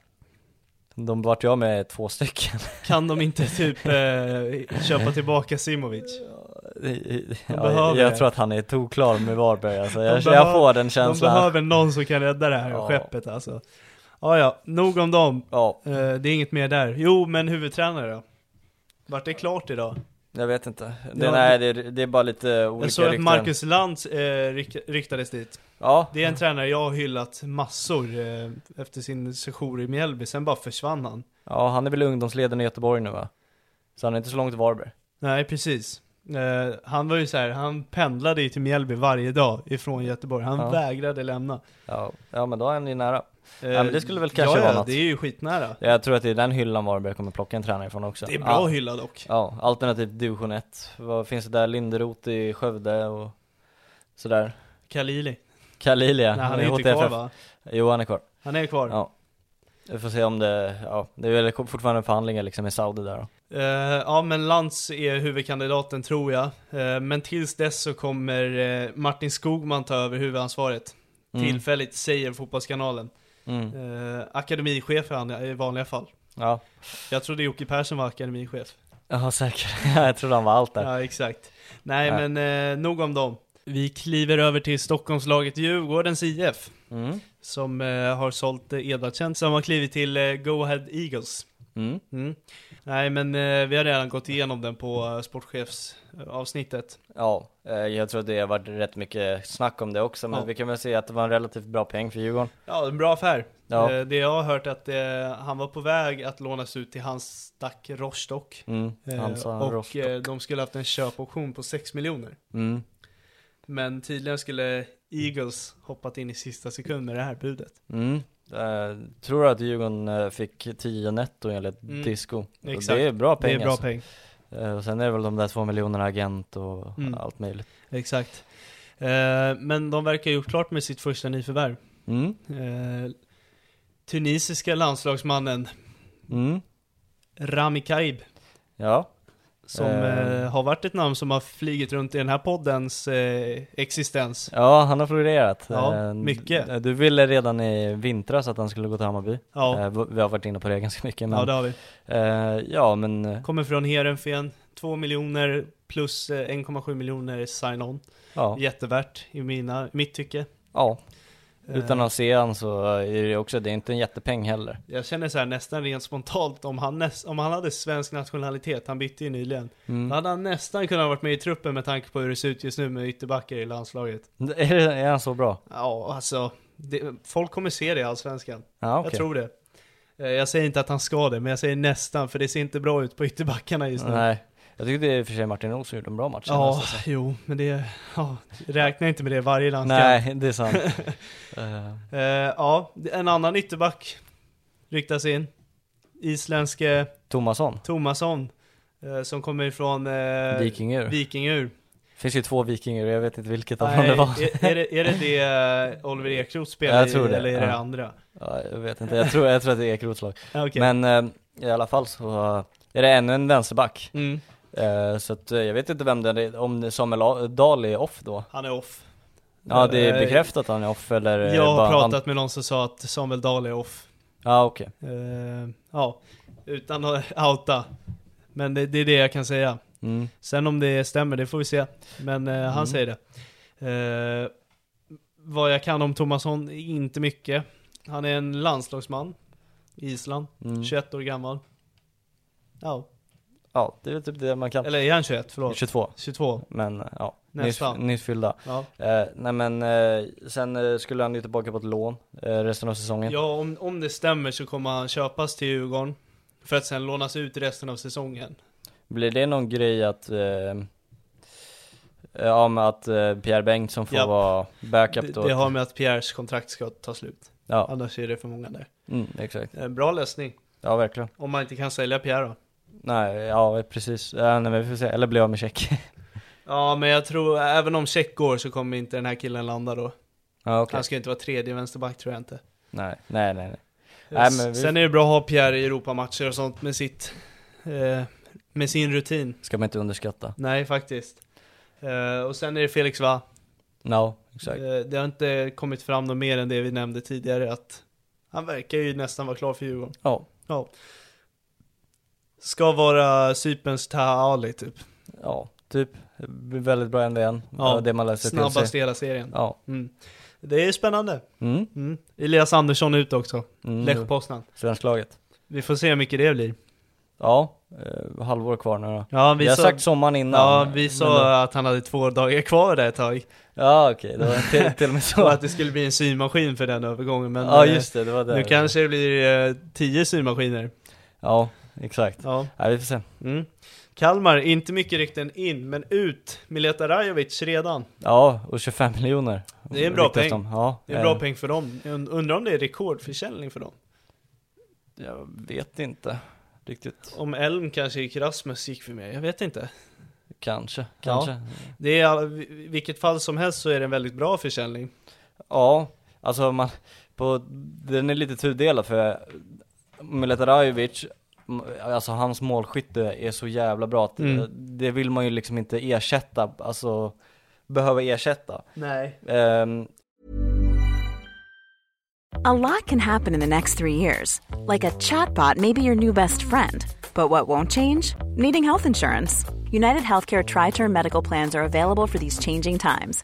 C: De vart jag med två stycken.
B: Kan de inte typ eh, köpa tillbaka Simovic?
C: Ja, jag,
B: behöver
C: jag
B: det.
C: tror att han är tokklar med Varberg alltså.
B: De
C: jag,
B: behöver-
C: jag får den
B: De
C: känslan.
B: behöver någon som kan rädda det här
C: Ja.
B: skeppet alltså. Ja, ja, nog om dem.
C: Ja,
B: Eh, det är inget mer där. Jo, men huvudtränare då? Vart det klart idag?
C: jag vet inte. Det,
B: Ja,
C: nej, det, det är bara lite olika
B: Jag såg att
C: rykten.
B: Marcus Lantz eh, ryk ryktades dit.
C: Ja,
B: Det är en tränare jag har hyllat massor eh, efter sin sejour i Mjällby, sen bara försvann han.
C: Ja, han är väl ungdomsledaren i Göteborg nu va? Så han är inte så långt till Varberg.
B: Nej, precis. Eh, han var ju så här, han pendlade ju till Mjällby varje dag ifrån Göteborg. Han
C: Ja.
B: vägrade lämna.
C: Ja, ja men då är han ju nära.
B: Eh,
C: Ja, men det skulle väl kanske
B: ja,
C: vara
B: ja,
C: något.
B: det är ju skitnära.
C: Jag tror att det är den hyllan Varberg kommer plocka en tränare ifrån också.
B: Det är bra
C: ja,
B: hylla dock.
C: Ja, alternativt division 1. Vad finns det där? Linderoth i Skövde och sådär.
B: Kalili.
C: Kalilia.
B: Nej, han är ju
C: åt
B: inte kvar
C: FF.
B: va?
C: Jo, han är kvar.
B: Han är kvar.
C: Ja. Vi får se om det, ja, det är väl fortfarande förhandlingar liksom med Saudi där då.
B: Eh, ja, men Lantz är huvudkandidaten tror jag. Eh, men tills dess så kommer eh, Martin Skogman ta över huvudansvaret.
C: Mm.
B: Tillfälligt, säger Fotbollskanalen.
C: Mm.
B: Eh, akademichef är han i vanliga fall.
C: Ja,
B: Jag trodde Jocke Persson var akademichef.
C: ja säkert. jag trodde han var allt där.
B: Ja, exakt. Nej,
C: Nej.
B: men eh, nog om dem. Vi kliver över till Stockholmslaget Djurgårdens IF,
C: Mm.
B: som eh, har sålt eh, Edvardsen, som har klivit till eh, Go Ahead Eagles.
C: Mm.
B: Mm. Nej men eh, vi har redan gått igenom den på eh, sportchefsavsnittet.
C: Ja, eh, jag tror att det har varit rätt mycket snack om det också, men
B: Ja.
C: vi kan väl säga att det var en relativt bra peng för Djurgården.
B: Ja, en bra affär.
C: Ja.
B: Eh, det jag har hört att eh, han var på väg att lånas ut till Hanstak Rostock.
C: Mm.
B: Eh,
C: Han sa
B: och
C: Rostock.
B: eh, de skulle haft en köpoption på 6 miljoner.
C: Mm.
B: Men tydligen skulle Eagles hoppat in i sista sekund med det här budet.
C: Mm. Eh, tror du att Djurgården eh, fick 10 netto enligt
B: Mm.
C: Disco? Och
B: Exakt.
C: Det är bra
B: Det
C: pengar.
B: är bra
C: alltså.
B: peng.
C: Eh, och sen är det väl de där två miljonerna agent och
B: Mm.
C: allt möjligt.
B: Exakt. Eh, men de verkar ha gjort klart med sitt första nyförvärv.
C: Mm.
B: Eh, tunisiska landslagsmannen
C: Mm.
B: Rami Kaib
C: Ja.
B: Som
C: Eh.
B: eh, har varit ett namn som har flugit runt i den här poddens eh, existens.
C: ja, han har florerat.
B: Ja,
C: Eh,
B: mycket.
C: d- Du ville redan i vintras att han skulle gå till Hammarby.
B: Ja,
C: Eh, v- vi har varit inne på det ganska mycket. Men,
B: ja det har vi.
C: eh, ja men eh,
B: Kommer från Heerenveen, 2 miljoner plus eh, 1,7 miljoner sign-on.
C: ja.
B: Jättevärt i mina, mitt tycke.
C: ja. Utan att se han så är det också, det är inte en jättepeng heller.
B: Jag känner så här nästan rent spontant om han, näst, om han hade svensk nationalitet, han bytte ju nyligen.
C: Mm.
B: Då hade han nästan kunnat varit med i truppen med tanke på hur det ser ut just nu med ytterbackar i landslaget.
C: Är, det- är han så bra?
B: Ja, alltså. Det, folk kommer se det i Allsvenskan.
C: Ja,
B: Jag
C: okej.
B: tror det. Eh, Jag säger inte att han ska det, men jag säger nästan, för det ser inte bra ut på ytterbackarna just nu.
C: Nej. Jag tyckte i och för sig Martin Olsson gjorde en bra match.
B: Ja,
C: senast.
B: jo, men det... Ja, räkna inte med det varje landskamp.
C: Nej, det är sant. Eh,
B: Eh, ja, en annan ytterback ryktas in. Isländske
C: Tomasson.
B: Tomasson, eh, som kommer ifrån eh,
C: Vikingur.
B: Vikingur.
C: finns ju två vikingar och jag vet inte vilket av dem
B: Nej,
C: det var.
B: är, är, det, är det det eh, Oliver Ekroth spelar
C: Jag tror
B: i,
C: det,
B: eller är det
C: ja.
B: andra?
C: Ja, jag vet inte, jag tror, jag tror att det är Ekroths lag.
B: Ja, okej.
C: Men eh, i alla fall så eh, är det ännu en vänsterback.
B: Mm,
C: Eh, så att, eh, jag vet inte vem den är, om det är Samuel A- Dahl är off då.
B: han är off.
C: Ja, det
B: Eh,
C: är bekräftat att han är off eller? är det
B: Jag har
C: bara
B: pratat
C: Han...
B: med någon som sa att Samuel Dahl är off.
C: Ja, okej.
B: Eh, ja, utan att outa. Men det, det är det jag kan säga.
C: Mm.
B: Sen om det stämmer, det får vi se. Men eh, han säger det. Eh, vad jag kan om Tomasson, inte mycket. Han är en landslagsman. i Island.
C: mm.
B: 21 år gammal. Ja,
C: Ja, det är typ det man kan.
B: eller är han 21? Förlåt.
C: 22.
B: 22.
C: Men eh, ja, nyss,
B: Nästan.
C: nyss fyllda.
B: Ja,
C: Eh, nej men eh, sen eh, skulle han ju tillbaka på ett lån eh, resten av säsongen.
B: ja om, om det stämmer så kommer han köpas till Djurgården. För att sen lånas ut resten av säsongen.
C: Blir det någon grej att, eh, eh, ja men att eh, Pierre Bengtsson får
B: Japp.
C: vara backup
B: Det,
C: då?
B: det har med att Pierres kontrakt ska ta slut.
C: Ja,
B: Annars är det för många där.
C: mm, exakt.
B: Eh, Bra lösning.
C: Ja verkligen.
B: Om man inte kan sälja Pierre då.
C: Nej, ja precis. Eh, nej men vi får se, eller blir av med check.
B: Ja, men jag tror, även om check går så kommer inte den här killen landa då.
C: ja okej.
B: Han ska ju inte vara tredje vänsterback tror jag inte.
C: Nej, nej nej. nej. Nej, men vi-
B: Sen är det bra att ha Pierre i Europamatcher och sånt med sitt, eh, med sin rutin.
C: Ska man inte underskatta.
B: Nej, faktiskt. Eh, och sen är det Felix va?
C: Ja, exakt.
B: Eh, det har inte kommit fram något mer än det vi nämnde tidigare att han verkar ju nästan vara klar för Djurgården.
C: Ja,
B: Ja. Ska vara Cyperns Taha Ali typ.
C: ja, typ. Väldigt bra ändå igen.
B: Ja,
C: Ja, det man läser till
B: Snabbast
C: sig.
B: i hela serien.
C: Ja.
B: Mm. Det är spännande.
C: Mm.
B: Mm. Elias Andersson ut också.
C: Mm.
B: Lech Poznan.
C: Svensklaget.
B: Vi får se hur mycket det blir.
C: Ja, eh, halvår kvar nu då.
B: Ja,
C: Vi har sagt sommaren innan.
B: ja, vi sa
C: men-
B: att han hade två dagar kvar där ett tag.
C: Ja okej, det var till, till och med
B: Och
C: så.
B: att det skulle bli en symaskin för den övergången. Men
C: Ja
B: eh,
C: just det, det var det.
B: nu kanske det blir eh, tio symaskiner.
C: Ja, exakt.
B: Ja.
C: Ja, vi får se.
B: Mm. Kalmar, inte mycket rykten in, men ut. Mileta Rajovic redan.
C: Ja, och 25 miljoner.
B: Det är en bra
C: ryktas
B: peng.
C: de. Ja, eh,
B: Det är en bra peng för dem. Jag und- undrar om det är rekordförsäljning för dem.
C: Jag vet inte riktigt.
B: Om Elm kanske gick Rasmus gick för mer, jag vet inte.
C: Kanske, kanske. Ja,
B: Det är, all- i vilket fall som helst så är det en väldigt bra försäljning.
C: alltså man, på, den är lite tudelad för Mileta Rajovic, m- alltså hans målskytte är så jävla bra att
B: Mm.
C: eh, det vill man ju liksom inte ersätta, alltså behöva ersätta.
B: Nej.
C: Ehm,
D: A lot can happen in the next three years. Like a chatbot may be your new best friend. But what won't change? Needing health insurance. United Healthcare Tri Term Medical Plans are available for these changing times.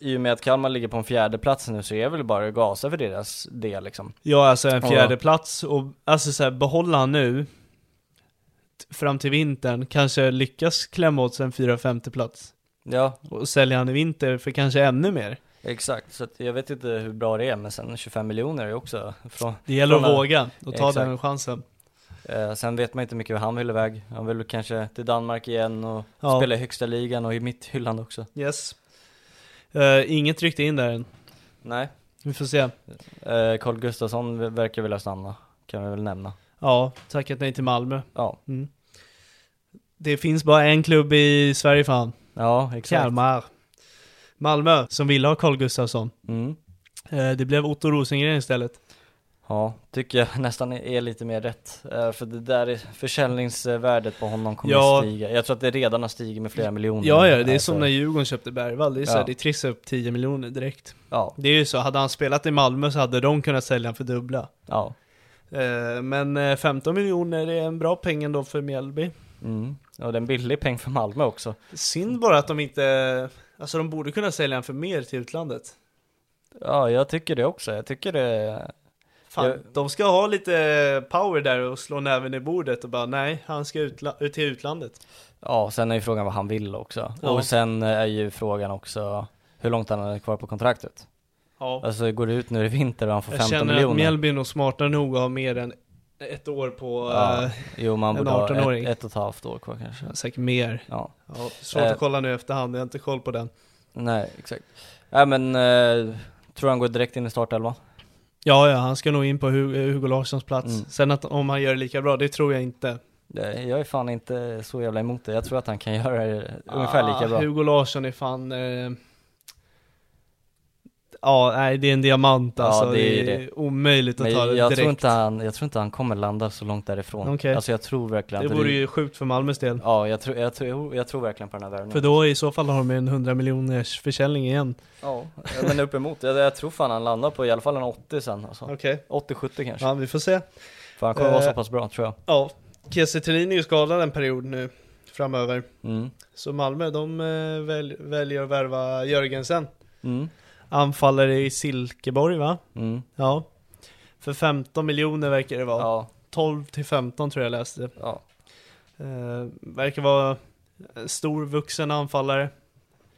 C: I och med att Kalmar ligger på en fjärde plats nu så är det väl bara att gasa för deras del liksom.
B: Ja, alltså en
C: Ja.
B: fjärde plats och alltså så här, behålla han nu t- fram till vintern, kanske lyckas klämma åt sig en fyra femte plats
C: Ja,
B: och sälja han i vinter för kanske ännu mer.
C: exakt. Så att jag vet inte hur bra det är, men sen 25 miljoner är också från...
B: Det gäller att
C: från-
B: våga och ta
C: Exakt.
B: den chansen.
C: Eh, sen vet man inte mycket hur han vill iväg. Han vill kanske till Danmark igen och
B: Ja.
C: spela i högsta ligan och i mitt hyllande också.
B: Yes. Eh, inget ryckte in där än.
C: Nej,
B: Vi får se.
C: eh, Carl Gustafsson ver- verkar vilja stanna, kan vi väl nämna.
B: Ja, tackat nej till Malmö.
C: Ja,
B: Det finns bara en klubb i Sverige fan.
C: ja exakt.
B: Kalmar. Malmö, som ville ha Carl Gustafsson.
C: Mm.
B: Eh, det blev Otto Rosengren istället.
C: Ja, tycker jag nästan är- är lite mer rätt. Eh, för det där är, försäljningsvärdet på honom kommer
B: Ja.
C: att stiga. Jag tror att det redan har stigit med flera miljoner.
B: Ja, ja, det är
C: Alltså,
B: som när Djurgården köpte Bergvall. Det är så här,
C: Ja.
B: det trissar upp 10 miljoner direkt.
C: Ja,
B: Det är ju så, hade han spelat i Malmö så hade de kunnat sälja honom för dubbla.
C: ja.
B: Eh, men eh, 15 miljoner är en bra peng ändå för Mjällby.
C: Mm. Och det är en billig peng för Malmö också.
B: Synd bara att de inte... Alltså de borde kunna sälja honom för mer till utlandet.
C: Ja, jag tycker det också. Jag tycker det...
B: Fan,
C: Jag-
B: de ska ha lite power där och slå näven i bordet och bara nej, han ska utla- ut till utlandet.
C: Ja, sen är ju frågan vad han vill också.
B: Ja.
C: Och sen är ju frågan också hur långt han är kvar på kontraktet.
B: Ja.
C: Alltså går det ut nu i vinter och han får
B: Jag
C: 15
B: känner att
C: miljoner.
B: Mjällby är nog smartare nog att ha mer än ett år på...
C: Ja.
B: eh,
C: Jo, man
B: en
C: borde ha
B: 18-åring.
C: ett, ett och ett halvt år kvar kanske.
B: säkert mer.
C: Ja.
B: Ja, svårt
C: Eh.
B: att kolla nu efterhand, jag har inte koll på den.
C: Nej, exakt. Nej men, eh, tror han går direkt in i startelvan?
B: Ja, ja, han ska nog in på Hu- eh, Hugo Larssons plats.
C: Mm.
B: Sen att, om han gör det lika bra, det tror jag inte.
C: Nej, Jag är fan inte så jävla emot det. Jag tror att han kan göra det ungefär lika
B: Ah,
C: bra.
B: Hugo Larsson är fan... Eh... Ja, nej, det är en diamant
C: Ja,
B: alltså.
C: det
B: det,
C: är
B: är omöjligt att
C: Men
B: ta det
C: jag
B: direkt.
C: tror, inte han, jag tror inte han kommer landa så långt därifrån.
B: Okej.
C: Alltså jag tror verkligen
B: det
C: att
B: vore ju sjukt för Malmös del.
C: Ja, jag tror, jag, tror, jag tror verkligen på den här värvningen.
B: För då i så fall har de ju en 100 miljoners försäljning igen.
C: Ja, men uppemot. Jag, jag tror fan han landar på i alla fall en 80 sen alltså.
B: Okej.
C: 80-70 kanske.
B: Ja, vi får se.
C: För han kommer vara så
B: Eh.
C: pass bra tror jag.
B: Ja, Kiese Thelin är ju skadad en period nu framöver.
C: Mm.
B: Så Malmö, de eh, väl, väljer att värva Jörgensen.
C: Mm.
B: Anfallare i Silkeborg va?
C: Mm.
B: Ja. För 15 miljoner verkar det vara.
C: Ja.
B: 12 till 15 tror jag läste.
C: ja.
B: Eh, verkar vara en stor vuxen anfallare.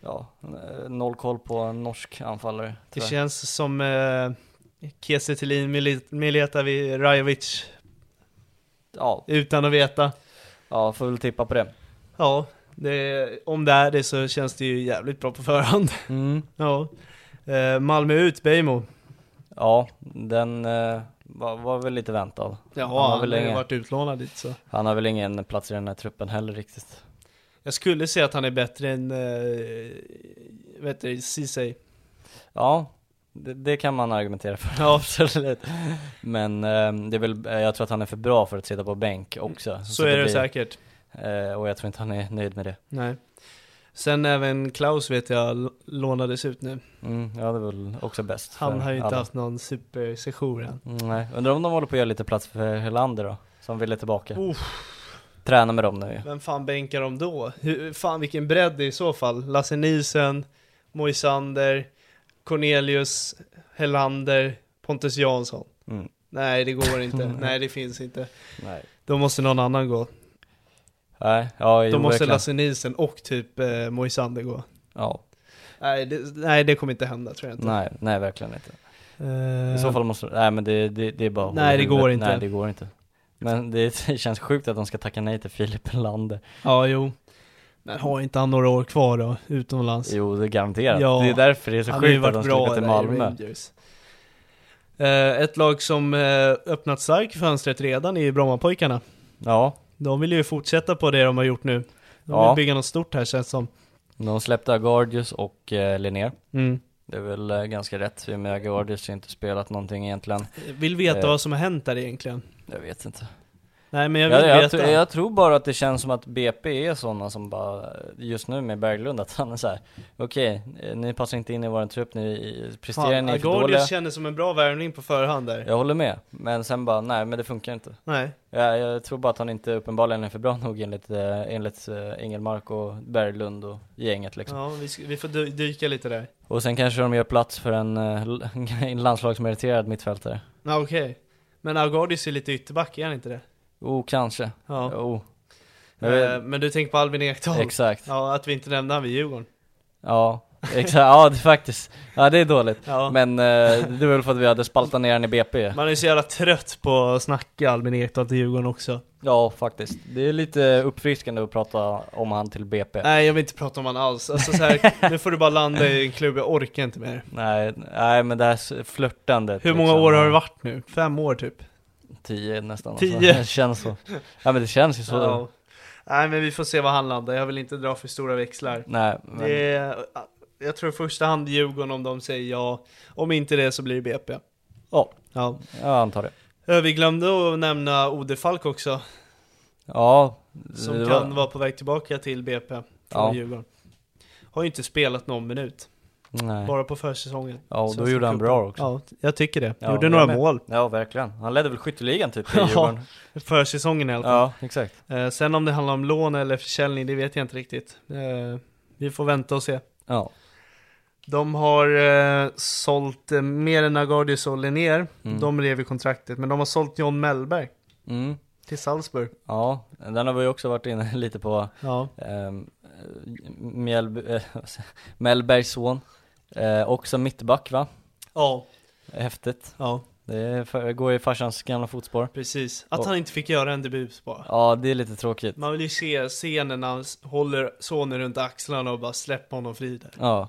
C: Ja. Eh, Noll koll på en norsk anfallare.
B: Det
C: tyvärr.
B: känns som eh, Kiese Thelin, Mil- Miletavi, Rajovic
C: Ja.
B: utan att veta.
C: ja, får väl tippa på det.
B: Ja, det, om det är det så känns det ju jävligt bra på förhand.
C: Mm.
B: ja. Eh, Malmö ut, Bejmo.
C: Ja, den eh, var, var väl lite väntad.
B: Ja,
C: har
B: han,
C: väl
B: har ju
C: länge-
B: varit utlånad dit så.
C: Han har väl ingen plats i den här truppen heller riktigt.
B: Jag skulle säga att han är bättre än, eh, vet du, Ceesay.
C: Ja, det, det kan man argumentera för.
B: Ja,
C: Absolut. Men eh, det är väl, eh, jag tror att han är för bra för att sitta på bänk också.
B: så är det,
C: blir-
B: säkert.
C: Eh, och jag tror inte han är nöjd med det.
B: Nej. Sen även Klaus vet jag l- lånades ut nu.
C: Mm, ja, det är väl också bäst.
B: Han
C: för
B: har ju inte
C: alla.
B: haft någon supersession än.
C: Mm, Nej, undrar om de håller på att göra lite plats för Helander då, som ville tillbaka.
B: Uff.
C: Träna med dem nu
B: Vem fan bänkar de då? Hur, fan vilken bredd det är i så fall. Lasse Nielsen, Moisander, Cornelius, Helander, Pontus Jansson.
C: Mm.
B: Nej det går inte, nej det finns inte.
C: Nej.
B: Då måste någon annan gå.
C: Nej, ja,
B: Då
C: jo,
B: måste
C: verkligen.
B: Lasse Nielsen och typ eh, Moisander gå.
C: Ja,
B: Nej det, nej det kommer inte hända tror jag inte.
C: nej, nej verkligen inte.
B: Eh,
C: I så fall måste, nej men det, det, det är bara
B: Nej, det
C: hål i huvudet.
B: går inte.
C: Nej, det går inte. Men det, det känns sjukt att de ska tacka nej till Filip Helander.
B: Ja jo. Men har inte han några år kvar då, utomlands?
C: Jo, det är garanterat.
B: Ja.
C: Det är därför det är så
B: han har ju
C: sjukt att
B: varit
C: de
B: bra
C: ska gå till
B: där i
C: Malmö.
B: Rangers. Eh, ett lag som eh, öppnat stark fönstret redan är ju Brommapojkarna.
C: Ja,
B: De vill ju fortsätta på det de har gjort nu. De
C: Ja.
B: vill bygga något stort här känns som.
C: de släppte Agardius och eh, Linnér.
B: Mm.
C: Det är väl eh, ganska rätt, i och med Agardius har inte spelat någonting egentligen.
B: Vill veta
C: Eh.
B: vad som har hänt där egentligen.
C: Jag vet inte.
B: Nej men jag vill
C: Jag, jag,
B: veta.
C: tror- jag tror bara att det känns som att BP är sådana som bara, just nu med Berglund, att han är såhär Okej, eh, ni passar inte in i våran trupp, ni presterar
B: Fan,
C: ni är för dåliga
B: Agardius kändes som en bra värvning på förhand där.
C: Jag håller med, men sen bara, nej men det funkar inte
B: Nej.
C: Jag, jag tror bara att han inte uppenbarligen är för bra nog enligt, eh, enligt eh, Engelmark och Berglund och gänget liksom
B: Ja, vi, ska, vi får dy- dyka lite där.
C: Och sen kanske de gör plats för en, eh, l- en landslagsmeriterad mittfältare
B: Ja, okej. Men Agardius är lite ytterback, är han inte det?
C: Oh, kanske,
B: Ja.
C: oh
B: Eh, men du tänker på Albin Ekdal?
C: Exakt,
B: Ja, att vi inte nämnde han vid Djurgården.
C: ja Exakt, ja det, faktiskt. Ja det är dåligt.
B: Ja.
C: Men eh, det var väl för att vi hade spaltat ner den i BP.
B: Man är så jävla trött på att snacka Albin Ekdal till Djurgården också.
C: Ja faktiskt. Det är lite uppfriskande att prata om han till BP.
B: Nej jag vill inte prata om han alls, alltså så här, nu får du bara landa i en klubb, jag orkar inte mer.
C: Nej, nej men det här s- flörtandet
B: Hur många
C: liksom.
B: år har det varit nu? Fem år typ?
C: Tio nästan
B: Tio.
C: Alltså. Det känns så Ja men det känns ju så
B: Ja. Nej men vi får se vad han landar, jag vill inte dra för stora växlar.
C: Nej men,
B: Det är, jag tror i första hand Djurgården om de säger ja, om inte det så blir det BP.
C: ja,
B: Ja.
C: jag antar det
B: Eh, Vi glömde att nämna Ode Falk också,
C: Ja,
B: som
C: det var-
B: kan vara på väg tillbaka till BP från
C: Ja.
B: Djurgården. Har ju inte spelat någon minut,
C: nej.
B: bara på försäsongen.
C: Ja och då
B: Svenska
C: gjorde han
B: cupen.
C: bra också
B: Ja, jag tycker det.
C: Ja,
B: Gjorde
C: jag
B: några
C: med.
B: mål.
C: Ja verkligen, han ledde väl skytteligan typ i
B: Ja.
C: Djurgården
B: Försäsongen i alla fall.
C: Ja, exakt
B: Eh, sen om det handlar om lån eller försäljning, det vet jag inte riktigt. Eh, vi får vänta och se.
C: Ja,
B: De har eh, sålt eh, mer än Agardius och Linnér.
C: Mm.
B: De rev ju kontraktet, men de har sålt John Mellberg
C: mm.
B: till Salzburg.
C: ja, den har vi ju också varit inne lite på
B: Ja.
C: ehm, Mjällby, eh, vad säger jag? Mellbergs son eh, Också mittback va?
B: Ja,
C: Häftigt
B: ja
C: Det är, för- går i farsans gamla fotspår
B: precis. Att
C: Och-
B: han inte fick göra en debut bara.
C: Ja, det är lite tråkigt
B: Man vill ju se scenen när han s- håller sonen runt axlarna och bara släpper honom fri där.
C: Ja,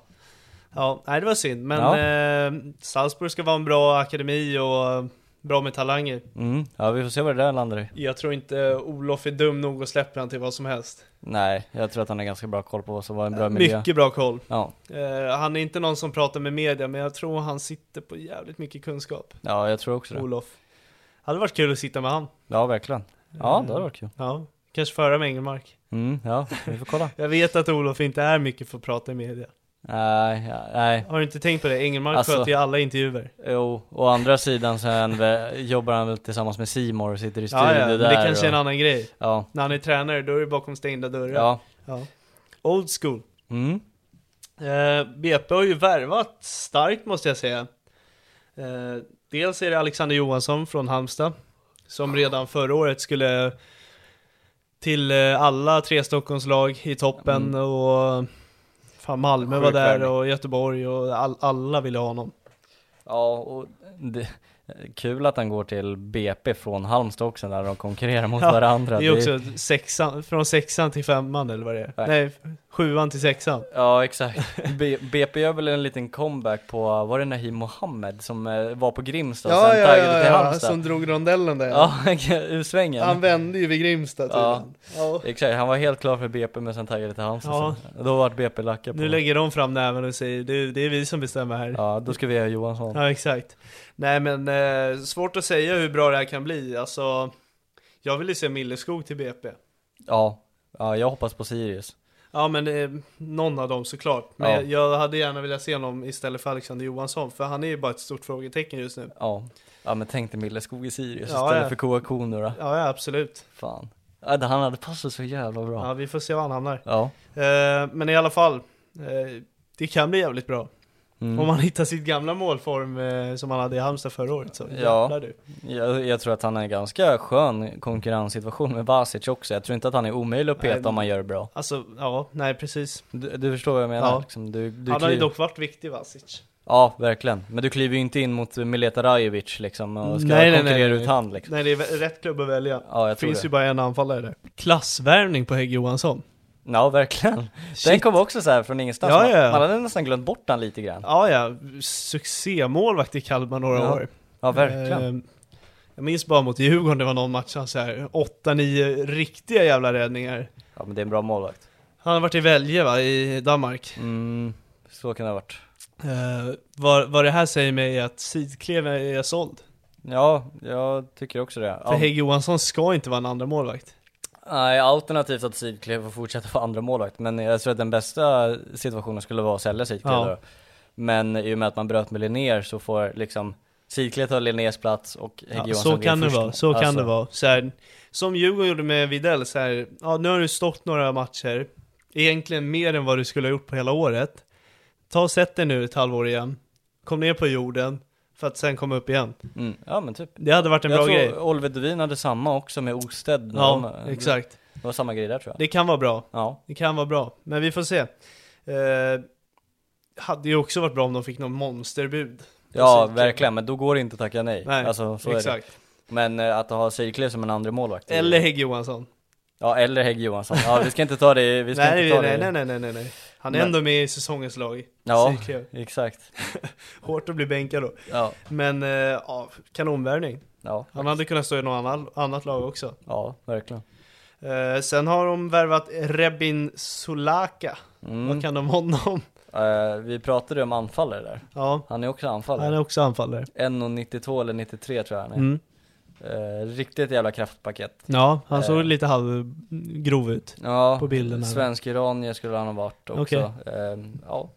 B: Ja, nej det var synd. Men
C: Ja.
B: eh, Salzburg ska vara en bra akademi och eh, bra med talanger.
C: mm. ja vi får se vad det där landar i
B: Jag tror inte Olof är dum nog att släppa han till vad som helst.
C: Nej, jag tror att han har ganska bra koll på vad som var en bra miljö
B: Mycket bra koll.
C: Ja,
B: Eh, han är inte någon som pratar med media, men jag tror han sitter på jävligt mycket kunskap,
C: ja jag tror också det
B: Olof. Hade varit kul att sitta med han.
C: Ja, verkligen Ja, det hade varit kul
B: Ja, kanske föra med Engelmark.
C: Mm, ja, vi får kolla
B: Jag vet att Olof inte är mycket för att prata i media.
C: Nej, ja, nej
B: Har du inte tänkt på det? Engelmark
C: Alltså-
B: sköter ju alla intervjuer.
C: Jo, å andra sidan så är han väl, jobbar han väl tillsammans med Simor och sitter i studio
B: Ja, ja, men
C: där
B: det kanske är en
C: och,
B: annan grej.
C: Ja,
B: När han är tränare, då är det bakom stängda dörrar.
C: ja
B: Ja. Old school.
C: mm.
B: Eh, BP har ju värvat starkt måste jag säga. Eh, dels är det Alexander Johansson från Halmstad, som redan förra året skulle till eh, alla tre Stockholmslag i toppen
C: Mm.
B: och fan, Malmö
C: Sjuk
B: var där
C: värvning.
B: och Göteborg och all, alla ville ha honom.
C: Ja, och det, kul att han går till BP från Halmstad också när de konkurrerar mot
B: Ja,
C: varandra
B: det är också sexan, från sexan till femman eller vad det är.
C: Nej.
B: Nej, sjuan till sexan.
C: Ja, exakt. B- BP gör väl en liten comeback på, var det Nahim Mohammed som eh, var på Grimstad och sen taggade till Halmstad?
B: som drog rondellen där.
C: Ja, ur svängen.
B: Han vände ju vid Grimstad
C: Ja.
B: tydligen. Ja.
C: Exakt, han var helt klar för BP men sen taggade till Halmstad
B: Ja.
C: sen. Då vart BP lacka på
B: Nu lägger de fram näven och säger det, det är vi som bestämmer här. Ja,
C: Ja, då ska vi ha Johansson.
B: exakt. Nej men eh, svårt att säga hur bra det här kan bli. Alltså, jag vill ju se Milleskog till BP.
C: Ja, ja jag hoppas på Sirius.
B: Ja men eh, någon av dem såklart. Men
C: Ja.
B: jag, jag hade gärna velat se honom istället för Alexander Johansson. För han är ju bara ett stort frågetecken just nu.
C: Ja, ja men tänk dig Milleskog i Sirius
B: Ja,
C: istället
B: ja.
C: för Koa Kono då.
B: Ja, ja absolut.
C: Fan. Ja, det- han hade passat så jävla bra.
B: Ja,
C: Ja.
B: vi får se var han hamnar. Eh, men i alla fall. Eh, det kan bli jävligt bra.
C: Mm.
B: Om han hittar sitt gamla målform eh, som han hade i Halmstad förra året så
C: Ja.
B: jävlar du.
C: Jag, jag tror att han är en ganska skön konkurrenssituation med Basic också. Jag tror inte att han är omöjlig att
B: Nej.
C: peta om man gör det bra.
B: Alltså, ja, nej precis.
C: Du, du förstår vad jag menar?
B: Ja.
C: Liksom, du, du
B: han har ju
C: kliver-
B: dock varit viktig Vasic.
C: Ja, verkligen. Men du kliver ju inte in mot Mileta Rajovic liksom och ska
B: Nej, nej,
C: konkurrera
B: nej, nej.
C: ut han liksom.
B: Nej, det är vä- rätt klubb att välja.
C: Ja, jag tror
B: Finns
C: det.
B: ju bara en anfallare där. Klassvärvning på Hägg Johansson.
C: Ja, verkligen. Den
B: Shit.
C: kom också så här från ingenstans.
B: Ja,
C: Man-
B: ja.
C: Man hade nästan glömt bort den lite grann.
B: Ja, ja. Succémålvakt i Kalmar några
C: Ja,
B: år.
C: Ja, verkligen.
B: Ehm, Jag minns bara mot Djurgården, det var någon match han så här 8-9 riktiga jävla räddningar.
C: Ja, men det är en bra målvakt.
B: Han har varit i Välje va, i Danmark.
C: Mm, så kan det ha varit.
B: Eh, vad, vad det här säger mig är att Sidklev är såld.
C: Ja, jag tycker också det.
B: För
C: Ja,
B: Hägg Johansson ska inte vara en andra målvakt
C: nej, alternativt att Sidklev får fortsätta vara andra målvakt men jag tror att den bästa situationen skulle vara att sälja Sidklev
B: Ja.
C: då. Men i och med att man bröt med Linnér så får liksom Sidklev ta Linnés plats och Hägg
B: Ja,
C: Johansson
B: så kan
C: blir
B: det
C: först.
B: vara, så kan
C: Alltså,
B: det vara. Så här, som Djurgården gjorde med Videll, så här, ja, nu har du stått några matcher, egentligen mer än vad du skulle ha gjort på hela året. Ta och sätt dig nu ett halvår igen, kom ner på jorden, för att sen komma upp igen.
C: Mm, ja men typ.
B: Det hade varit en
C: jag
B: bra
C: tror
B: grej.
C: Oliver Duvin hade samma också med Osted. när
B: Ja,
C: de-
B: exakt.
C: Det var samma grej där tror jag.
B: Det kan vara bra,
C: Ja,
B: det kan vara bra, men vi får se. Eh, hade ju också varit bra om de fick någon monsterbud.
C: Ja,
B: Alltså,
C: verkligen, men då går det inte att tacka nej.
B: Nej,
C: alltså, så Är
B: exakt.
C: det. Men eh, att ha Sydklev som en andra målvakt. är-
B: Eller Hägg Johansson.
C: Ja, eller Hägg Johansson. Ja, vi ska inte ta det, vi ska
B: Nej,
C: inte ta
B: nej,
C: det.
B: nej, nej, nej, nej, nej. Han är
C: Men-
B: ändå med i säsongens lag.
C: Ja,
B: Sydklev.
C: exakt.
B: Hårt att bli bänkad då.
C: Ja,
B: Men eh, ja, kanonvärvning.
C: ja,
B: Han hade kunnat stå i något annan- annat lag också.
C: ja verkligen.
B: Eh, sen har de värvat Rebin Solaka. Vad kan de om honom?
C: Mm. Eh, vi pratade ju om anfallare där.
B: Ja,
C: Han är också
B: han
C: anfallare.
B: är också anfallare.
C: 1,92 eller 93 tror jag han är.
B: Mm.
C: Eh, riktigt jävla kraftpaket.
B: Ja, han såg
C: Eh.
B: lite halvgrov ut.
C: Ja,
B: På bilden här.
C: svensk-iranier skulle han ha varit också.
B: Okej.
C: Eh, ja.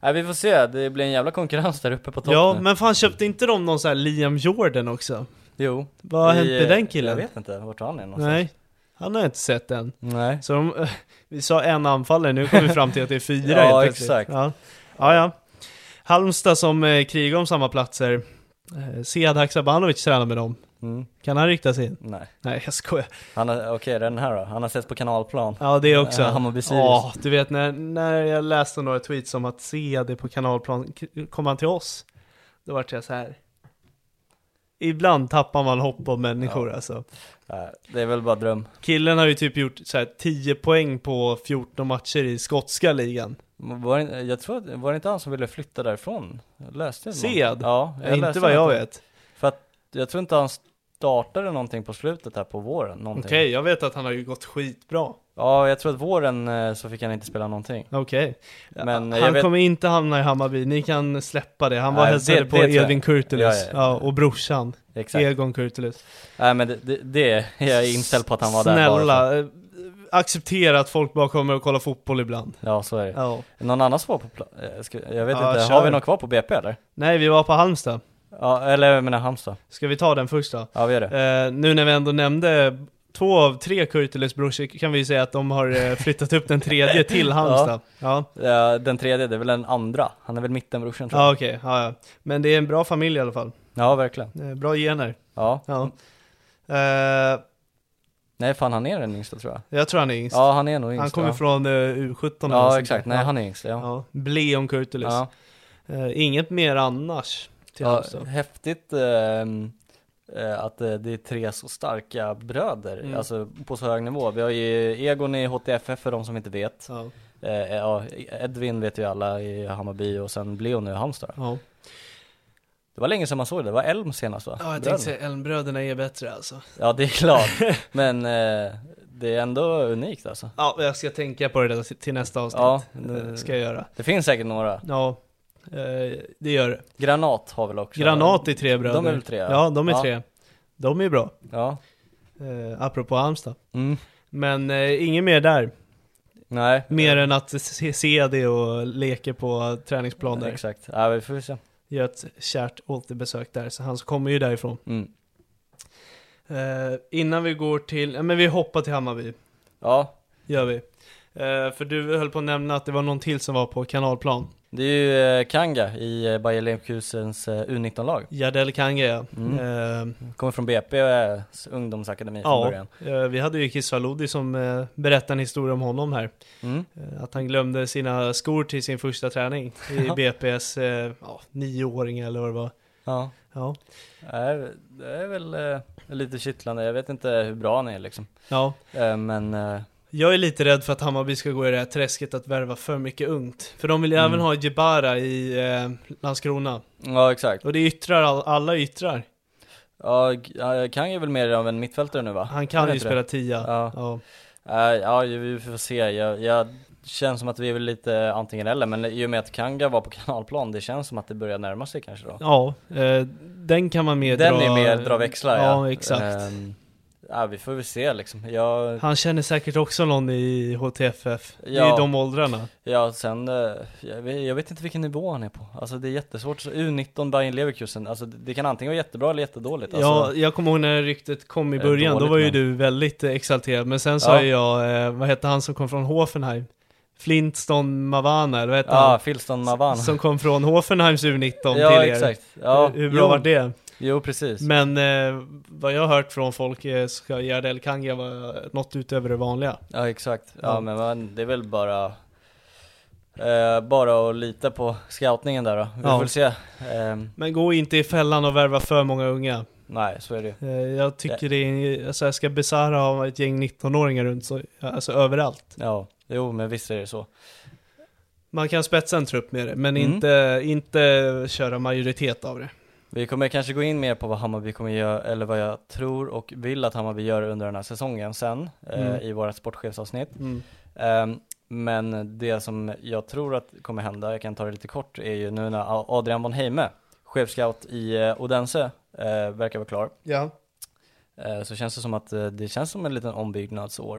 C: Nej, vi får se, det blir en jävla konkurrens där uppe på toppen.
B: Ja, men fan köpte inte de någon sån här Liam Jordan också?
C: Jo.
B: Vad har
C: I,
B: hänt med
C: eh,
B: den killen?
C: Jag vet inte, vart han är någonstans.
B: Nej, han har jag inte sett än.
C: Nej.
B: Så de, eh, vi sa en anfallare, nu kommer vi fram till att det är fyra
C: Ja,
B: helt plötsligt.
C: exakt.
B: Ja. ja, ja. Halmstad som eh, krigar om samma platser. Eh, Sead Haksabanovic tränar med dem.
C: Mm,
B: Kan han rikta sig in?
C: nej.
B: Nej, jag skojar.
C: Han har, okej den här då, han har sett på kanalplan.
B: Ja, det också.
C: Eh, Hammarby Sirius.
B: Ja, du vet när, när jag läste några tweets om att Sead är på kanalplan, k- kom han till oss? Då vart jag så här. Ibland tappar man hopp om människor alltså.
C: Nej, Eh, det är väl bara dröm.
B: Killen har ju typ gjort så här 10 poäng på 14 matcher i skotska ligan.
C: Var det, jag tror, att- var det inte han som ville flytta därifrån? Jag Läste det någon-
B: Sead?
C: Ja, jag
B: inte
C: läste
B: vad jag
C: någonting.
B: vet.
C: För att jag tror inte han startade någonting på slutet här på våren, någonting.
B: Okej, jag vet att han har ju gått skitbra.
C: Ja, jag tror att våren eh, så fick han inte spela någonting.
B: Okej.
C: Men eh, jag
B: Han
C: vet-
B: kommer inte hamna i Hammarby, ni kan släppa det. Han var
C: Nej,
B: hälsade
C: det-
B: på
C: det tror jag.
B: Edvin Kurtulus, ja,
C: Ja, ja, ja.
B: och brorsan,
C: Exakt.
B: Egon Kurtulus.
C: Nej men det, det, det är jag inställd på att han var där bara för-
B: Snälla, eh, acceptera att folk bara kommer och kollar fotboll ibland.
C: Ja, så är det.
B: Ja.
C: Någon annan som var på pla- eh, ska, Jag vet
B: Ja,
C: inte,
B: kör.
C: har vi någon kvar på BP eller?
B: Nej, vi var på Halmstad.
C: Ja, eller jag menar Halmstad.
B: Ska vi ta den först då?
C: Ja, vi gör det.
B: Eh, nu när vi ändå nämnde två av tre Kurtulus brorsor kan vi ju säga att de har eh, flyttat upp den tredje till Halmstad. Ja,
C: Eh, den tredje, det är väl den andra. Han är väl mittenbrorsan tror jag.
B: ja okej. Ja, ja. Men det är en bra familj i alla fall.
C: Ja, verkligen.
B: Eh, bra gener.
C: Ja.
B: Ja. Eh,
C: Nej fan, han är den yngsta tror jag.
B: jag tror han är yngst.
C: Ja, han är nog yngst.
B: han kommer
C: ja.
B: från eh, U17 eller något sånt
C: Ja,
B: där.
C: exakt. Nej, han är yngst. Ja.
B: ja. Bleon Kurtulus.
C: Ja.
B: Eh, inget mer annars till
C: Ja,
B: Halmstad.
C: häftigt ehm, eh, att eh, det är tre så starka bröder,
B: Mm.
C: alltså på så hög nivå. Vi har ju Egon i HTFF för de som inte vet.
B: Ja.
C: Eh, ja, Edvin vet ju alla i Hammarby och sen Leon nu i Halmstad.
B: Ja.
C: Det var länge sedan man såg det, det var Elm senast va?
B: ja, jag
C: Bröderna.
B: tänkte säga Elmbröderna är bättre alltså.
C: Ja det är klart, men eh, det är ändå unikt alltså.
B: Ja, jag ska tänka på det där till nästa avsnitt.
C: Ja,
B: det
C: det-
B: ska jag göra.
C: Det finns säkert några.
B: Ja, eh, det gör det.
C: Granat har väl också?
B: Granat i tre bröder.
C: De är väl tre?
B: Ja, de är
C: ja.
B: tre. De är bra.
C: Ja.
B: Eh, apropå Halmstad.
C: Mm.
B: Men eh, inget mer där.
C: Nej. Eh,
B: Mer än att se, se det och leka på träningsplan där.
C: Exakt, ja, vi får se.
B: gör ett kärt återbesök där, så han kommer ju därifrån.
C: Mm.
B: Eh, innan vi går till, ja, men vi hoppar till Hammarby,
C: Ja,
B: gör vi. Eh, för du höll på att nämna att det var någon till som var på kanalplan.
C: Det är ju eh, Kanga i eh, Bayer Leverkusens eh, U19-lag.
B: Jardel Kange ja.
C: Mm.
B: Eh,
C: Kommer från BP eh, s- ungdomsakademi från
B: ja,
C: början.
B: eh, vi hade ju Kiss Waludi som eh, berättade en historia om honom här.
C: Mm.
B: Eh, att han glömde sina skor till sin första träning i BPS eh, ja, nioåring eller vad det var.
C: Ja.
B: Ja,
C: Eh, Det är väl eh, lite kittlande, jag vet inte hur bra han är liksom.
B: ja.
C: Eh, Men eh,
B: Jag är lite rädd för att Hammarby ska gå i det här träsket att värva för mycket ungt. För de vill ju
C: Mm.
B: även ha Jebara i eh, Landskrona.
C: ja exakt.
B: Och det yttrar, all, alla yttrar.
C: Ja, G- ja, Kanga är väl mer av en mittfältare nu va?
B: Han
C: Är
B: kan
C: det
B: ju
C: inte
B: spela
C: det?
B: tia.
C: Ja.
B: Ja.
C: Eh, Ja, ju- vi får se. Jag, jag känns som att vi är väl lite antingen eller, men i och med att Kanga var på kanalplan, det känns som att det börjar närma sig kanske då.
B: ja eh, den kan man mer
C: Den
B: dra...
C: är mer dra växlar
B: ja. exakt.
C: Ehm, Ja, vi får väl se liksom. Jag,
B: Han känner säkert också någon i HTFF. I
C: Ja.
B: de åldrarna.
C: Ja, sen, eh, jag vet, jag vet inte vilken nivå han är på. Alltså det är jättesvårt. Så U19 Bayern Leverkusen, alltså det, det kan antingen vara jättebra eller jättedåligt. Alltså,
B: ja, jag kommer ihåg när ryktet kom i
C: Eh,
B: början, då
C: dåligt,
B: var ju
C: men-
B: du väldigt eh, exalterad. Men sen sa
C: Ja.
B: ju jag, eh, vad hette han som kom från Hoffenheim? Flintston Mavana, eller vad hette han?
C: ja Filston Mavan.
B: Som kom från Hoffenheims U19
C: ja,
B: till er.
C: exakt. Ja,
B: Hur hur bra var det?
C: Jo, precis.
B: Men eh, vad jag har hört från folk eh, ska Gardell Kanga vara något utöver det vanliga.
C: Ja, exakt. Ja,
B: Ja.
C: men man, det är väl bara Eh, bara att lita på scoutningen där då. Vi
B: Ja.
C: får se. Ehm,
B: Men gå inte i fällan och värva för många unga.
C: nej, så är det ju.
B: Eh, Jag tycker det är, alltså jag ska Besara ha ett gäng 19-åringar runt så, alltså överallt.
C: Ja, jo men visst är det så.
B: Man kan spetsa en trupp med det, men
C: Mm.
B: inte, inte köra majoritet av det.
C: Vi kommer kanske gå in mer på vad Hammarby kommer göra, eller vad jag tror och vill att Hammarby gör under den här säsongen sen eh,
B: Mm.
C: i våra sportchefsavsnitt.
B: Mm.
C: Ehm, men det som jag tror att kommer hända, jag kan ta det lite kort, är ju nu när A- Adrian von Heime, chefscout i eh, Odense, eh, verkar vara klar.
B: Ja.
C: Eh, så känns det som att eh, det känns som en liten ombyggnadsår.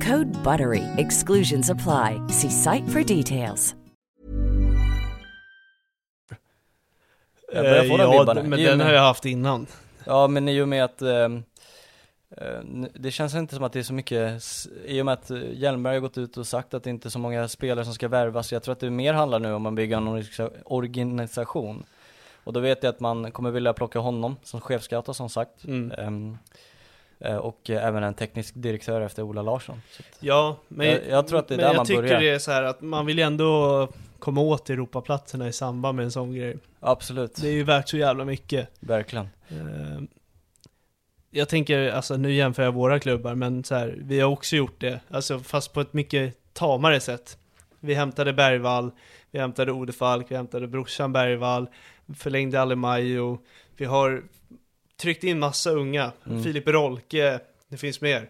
E: Code BUTTERY. Exclusions apply. See site for details.
C: Jag börjar få de vibbarna.
B: Eh, men
C: I och
B: den
C: med-
B: har jag haft innan.
C: Ja men i och med att ehm, eh, n- det känns inte som att det är så mycket, s- i och med att eh, Hjelmberg har gått ut och sagt att det inte är så många spelare som ska värvas, jag tror att det mer handlar nu om att bygga en orga- organisation. Och då vet jag att man kommer vilja plocka honom som chefscout har som sagt.
B: Mm.
C: Ehm, eh, och eh, även en teknisk direktör efter Ola Larsson. Så att,
B: Ja, men
C: Jag- jag tror att det är
B: men
C: där
B: jag
C: man
B: tycker
C: börjar.
B: det är så här att man vill ju ändå komma åt Europaplatserna i samband med en sån grej.
C: absolut,
B: Det är ju värt så jävla mycket.
C: verkligen.
B: Eh, Jag tänker, alltså nu jämför jag våra klubbar, men så här, vi har också gjort det, alltså fast på ett mycket tamare sätt. Vi hämtade Bergvall, vi hämtade Odefalk, vi hämtade brorsan Bergvall, förlängde Alemajo, vi har tryckt in massa unga,
C: Mm.
B: Filip Rolke, det finns mer.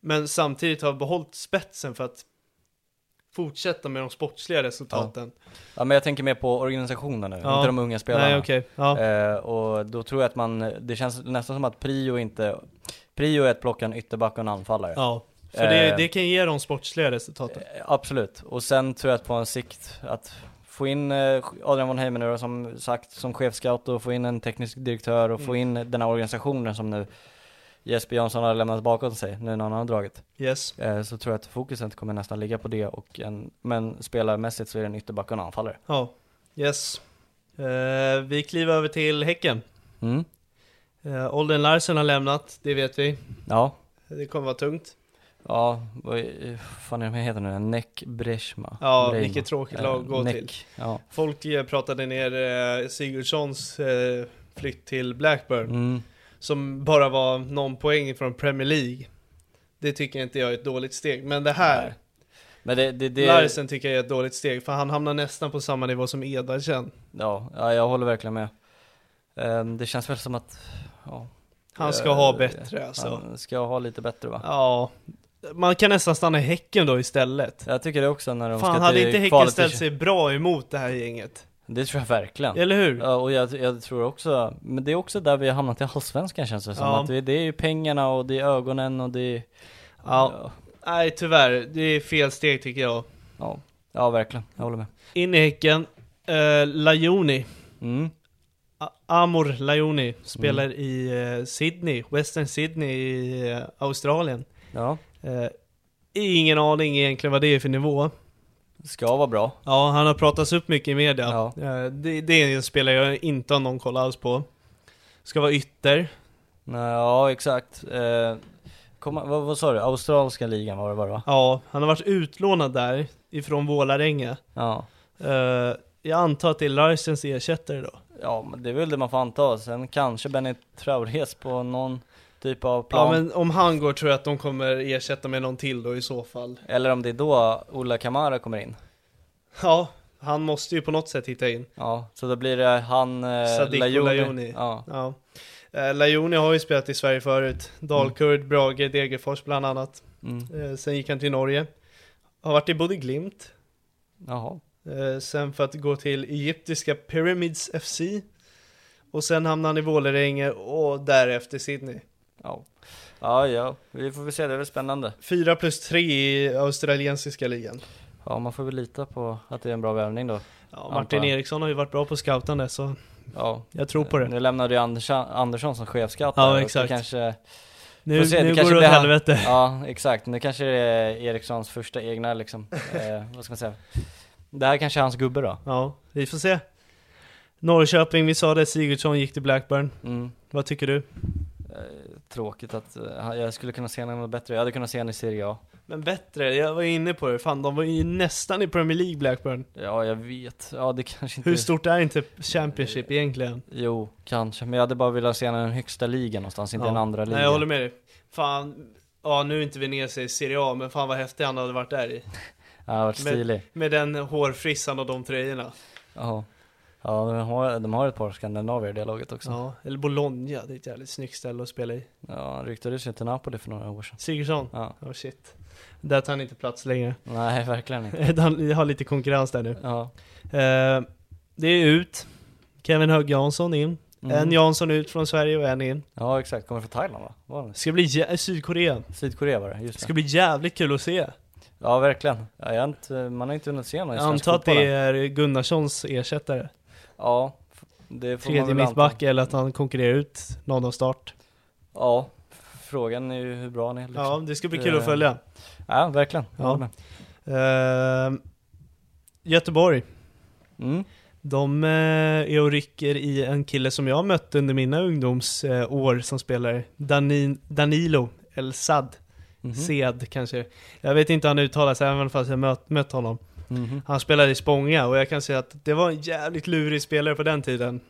B: Men samtidigt har vi behållit spetsen för att fortsätta med de sportsliga resultaten.
C: Ja men jag tänker mer på organisationen nu,
B: Ja.
C: inte de unga spelarna.
B: Nej okej, ja.
C: Eh, och då tror jag att man, det känns nästan som att prio inte, prio är att plocka en ytterback och en anfallare.
B: ja. För det,
C: Eh.
B: det kan ge de sportsliga resultaten.
C: Eh, Absolut, och sen tror jag att på en sikt att få in eh, Adrian von Heimen nu då, som sagt som chefscout och få in en teknisk direktör och få
B: Mm.
C: in den här organisationen som nu Jesper Jansson har lämnat bakom sig nu när han har dragit.
B: Yes.
C: Eh, så tror jag att fokuset kommer nästan ligga på det och en, men spelarmässigt så är det en ytterback och en anfallare.
B: Ja, yes. Eh, vi kliver över till Häcken.
C: Mm.
B: Eh, Olden Larsen har lämnat, det vet vi.
C: Ja,
B: Det kommer vara tungt.
C: ja, vad eh, fan är de heter nu? Neck Breshma.
B: Ja,
C: Breima.
B: vilket tråkigt
C: Eh,
B: lag att gå
C: Neck.
B: till.
C: Ja.
B: Folk eh, pratade ner eh, Sigurdssons eh, flytt till Blackburn,
C: Mm.
B: som bara var någon poäng från Premier League. Det tycker inte jag är ett dåligt steg, men det här,
C: Nej. Men det, det, det
B: Larsen tycker jag är ett dåligt steg, för han hamnar nästan på samma nivå som Eda sen.
C: ja, ja, jag håller verkligen med. Ehm, det känns väl som att, ja.
B: Han ska
C: Eh,
B: ha bättre alltså.
C: Han ska ha lite bättre va?
B: Ja, man kan nästan stanna i Häcken då istället.
C: Jag tycker det också när de ska
B: Fan, hade
C: till
B: inte Häcken
C: kvalet
B: ställt
C: till-
B: sig bra emot det här gänget?
C: Det tror jag verkligen.
B: Eller hur?
C: Ja, och jag, jag tror också, men det är också där vi har hamnat i Allsvenskan känns det som.
B: Ja.
C: Att det, det är ju pengarna och det är ögonen och det är,
B: Ja. Nej, tyvärr. Det är fel steg tycker jag.
C: ja, ja verkligen, jag håller med.
B: In i Häcken. Eh, Lajoni.
C: Mm.
B: A- Amor Lajoni spelar i eh, Sydney, Western Sydney i eh, Australien.
C: Ja,
B: Eh, Ingen aning egentligen vad det är för nivå.
C: Ska vara bra.
B: Ja, han har pratats upp mycket i media.
C: Ja.
B: Eh, Det, det är en spelare jag inte har någon koll alls på. Ska vara ytter.
C: Nej, ja, exakt. Eh, komma, vad, vad sa du? Australiska ligan var det bara va?
B: Ja, han har varit utlånad där ifrån Vålarenga.
C: Ja.
B: Eh, jag antar att det är Larsens ersättare då.
C: Ja, men det är väl det man får anta. Sen kanske Benny Traores på någon typ av plan.
B: Ja, men om han går tror jag att de kommer ersätta med någon till då i så fall.
C: Eller om det är då Ola Kamara kommer in.
B: Ja, han måste ju på något sätt hitta in.
C: Ja, så då blir det han, eh,
B: Sadiq och Lajoni.
C: Ja.
B: Ja. Eh, Lajoni har ju spelat i Sverige förut. Dalkurd, Brage, Degerfors bland annat.
C: Mm.
B: Eh, sen gick han till Norge. Har varit i både Glimt,
C: Jaha.
B: eh, sen för att gå till egyptiska Pyramids FC. Och sen hamnade han i Vålerenga och därefter Sydney.
C: Ja. ja, ja, vi får väl se, det är väl spännande.
B: Fyra plus tre i australiensiska ligan.
C: Ja, man får väl lita på att det är en bra värvning då.
B: Ja, Martin
C: Antar jag.
B: Eriksson har ju varit bra på scoutande så
C: Ja.
B: jag tror på det.
C: Nu lämnade ju Andersson, Andersson som chefskatt
B: Ja,
C: där, och det
B: exakt.
C: Kanske,
B: Nu,
C: får se, det
B: nu går
C: kanske
B: det åt
C: blir han-
B: helvete.
C: Ja, exakt. Nu kanske det är Erikssons första egna liksom, eh, vad ska man säga? Det här kanske är hans gubbe då.
B: Ja, vi får se. Norrköping, vi sa det, Sigurdsson gick till Blackburn.
C: Mm.
B: Vad tycker du?
C: Tråkigt att, eh, jag skulle kunna se honom bättre, jag hade kunnat se honom i Serie A.
B: Men bättre, jag var inne på det, fan de var ju nästan i Premier League Blackburn.
C: Ja, jag vet. Ja, det kanske inte...
B: Hur stort är inte Championship egentligen?
C: Jo, kanske. Men jag hade bara velat se honom i den högsta ligan någonstans, inte
B: Ja.
C: den andra ligan.
B: Nej jag håller med dig. Fan, ja nu är inte Venezia i Serie A, men fan vad häftig han hade varit där i.
C: Ja, det hade varit
B: Men-
C: stilig.
B: Med den hårfrissan och de tröjorna.
C: Ja. Ja, de har, de har ett par skandinavier i det laget också. Ja,
B: Ja, eller Bologna, det är ett jävligt snyggt ställe att spela i.
C: han ryktades ju till Napoli för några år sedan.
B: Sigurdsson?
C: Ja.
B: Oh shit. Där tar han inte plats längre.
C: Nej, verkligen inte.
B: Han har lite konkurrens där nu.
C: Ja.
B: Eh, det är ut. Kevin Hög Jansson in.
C: Mm.
B: En Jansson ut från Sverige och en in.
C: Ja, exakt. Kommer från Thailand va? Var han?
B: Ska bli jä- eh, Sydkorea.
C: Sydkorea var det, just
B: Ska
C: det.
B: bli jävligt kul att se.
C: Ja, verkligen. Ja, jag har inte, man har inte hunnit se någon i
B: Jag
C: svensk
B: antar att
C: fotboll
B: det
C: än.
B: är Gunnarssons ersättare.
C: Ja, f- det får man
B: Tredje
C: väl anta.
B: mittback eller att han konkurrerar ut någon av start.
C: Ja, frågan är ju hur bra han är liksom.
B: Ja,
C: Ja,
B: det ska bli kul att
C: Eh,
B: följa.
C: ja verkligen. Jag
B: Ja.
C: håller med.
B: Eh, Göteborg.
C: Mm.
B: De eh, är och rycker i en kille som jag mötte under mina ungdomsår som spelare. Danin, Danilo El Sad.
C: Mhm.
B: Sed kanske. Jag vet inte hur han uttalar sig även fast jag mött, mött honom.
C: Mhm.
B: Han spelade i Spånga och jag kan säga att det var en jävligt lurig spelare på den tiden.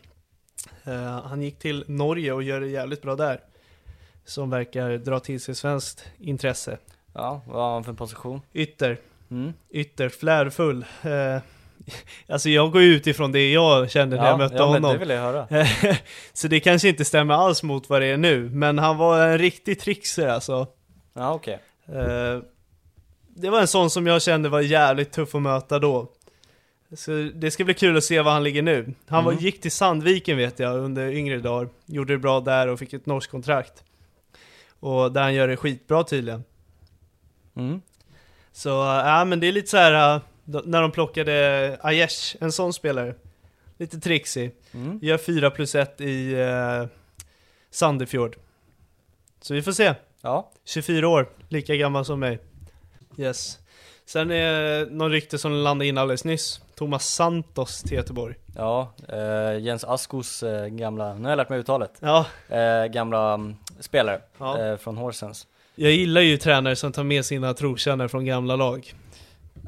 B: Eh, han gick till Norge och gör det jävligt bra där. Som verkar dra till sig svenskt intresse.
C: Ja, vad har han för position?
B: Ytter,
C: Mm.
B: ytter, flärfull. Eh, alltså jag går ju utifrån det jag kände när jag mötte
C: ja, men
B: honom.
C: det vill jag höra.
B: Så det kanske inte stämmer alls mot vad det är nu, men han var en riktig trixer alltså.
C: Ja, okej.
B: Eh, Det var en sån som jag kände var jävligt tuff att möta då. Så det ska bli kul att se var han ligger nu. Han var,
C: Mm.
B: gick till Sandviken vet jag under yngre dagar, gjorde det bra där och fick ett norskt kontrakt. Och där han gör det skitbra tydligen.
C: Mm.
B: Så ja, men det är lite så här eh, då- när de plockade Aiesh, en sån spelare. Lite trixig.
C: Mm.
B: Gör 4 plus 1 i eh, Sandefjord. Så vi får se.
C: Ja,
B: 24 år, lika gammal som mig. Yes. Sen är det någon rykte som landade in alldeles nyss. Thomas Santos till Göteborg.
C: ja eh, Jens Askos eh, gamla, nu har jag lärt mig uttalet,
B: Ja,
C: eh, gamla mm, spelare
B: Ja.
C: eh, från Horsens.
B: jag gillar ju tränare som tar med sina trotjänare från gamla lag.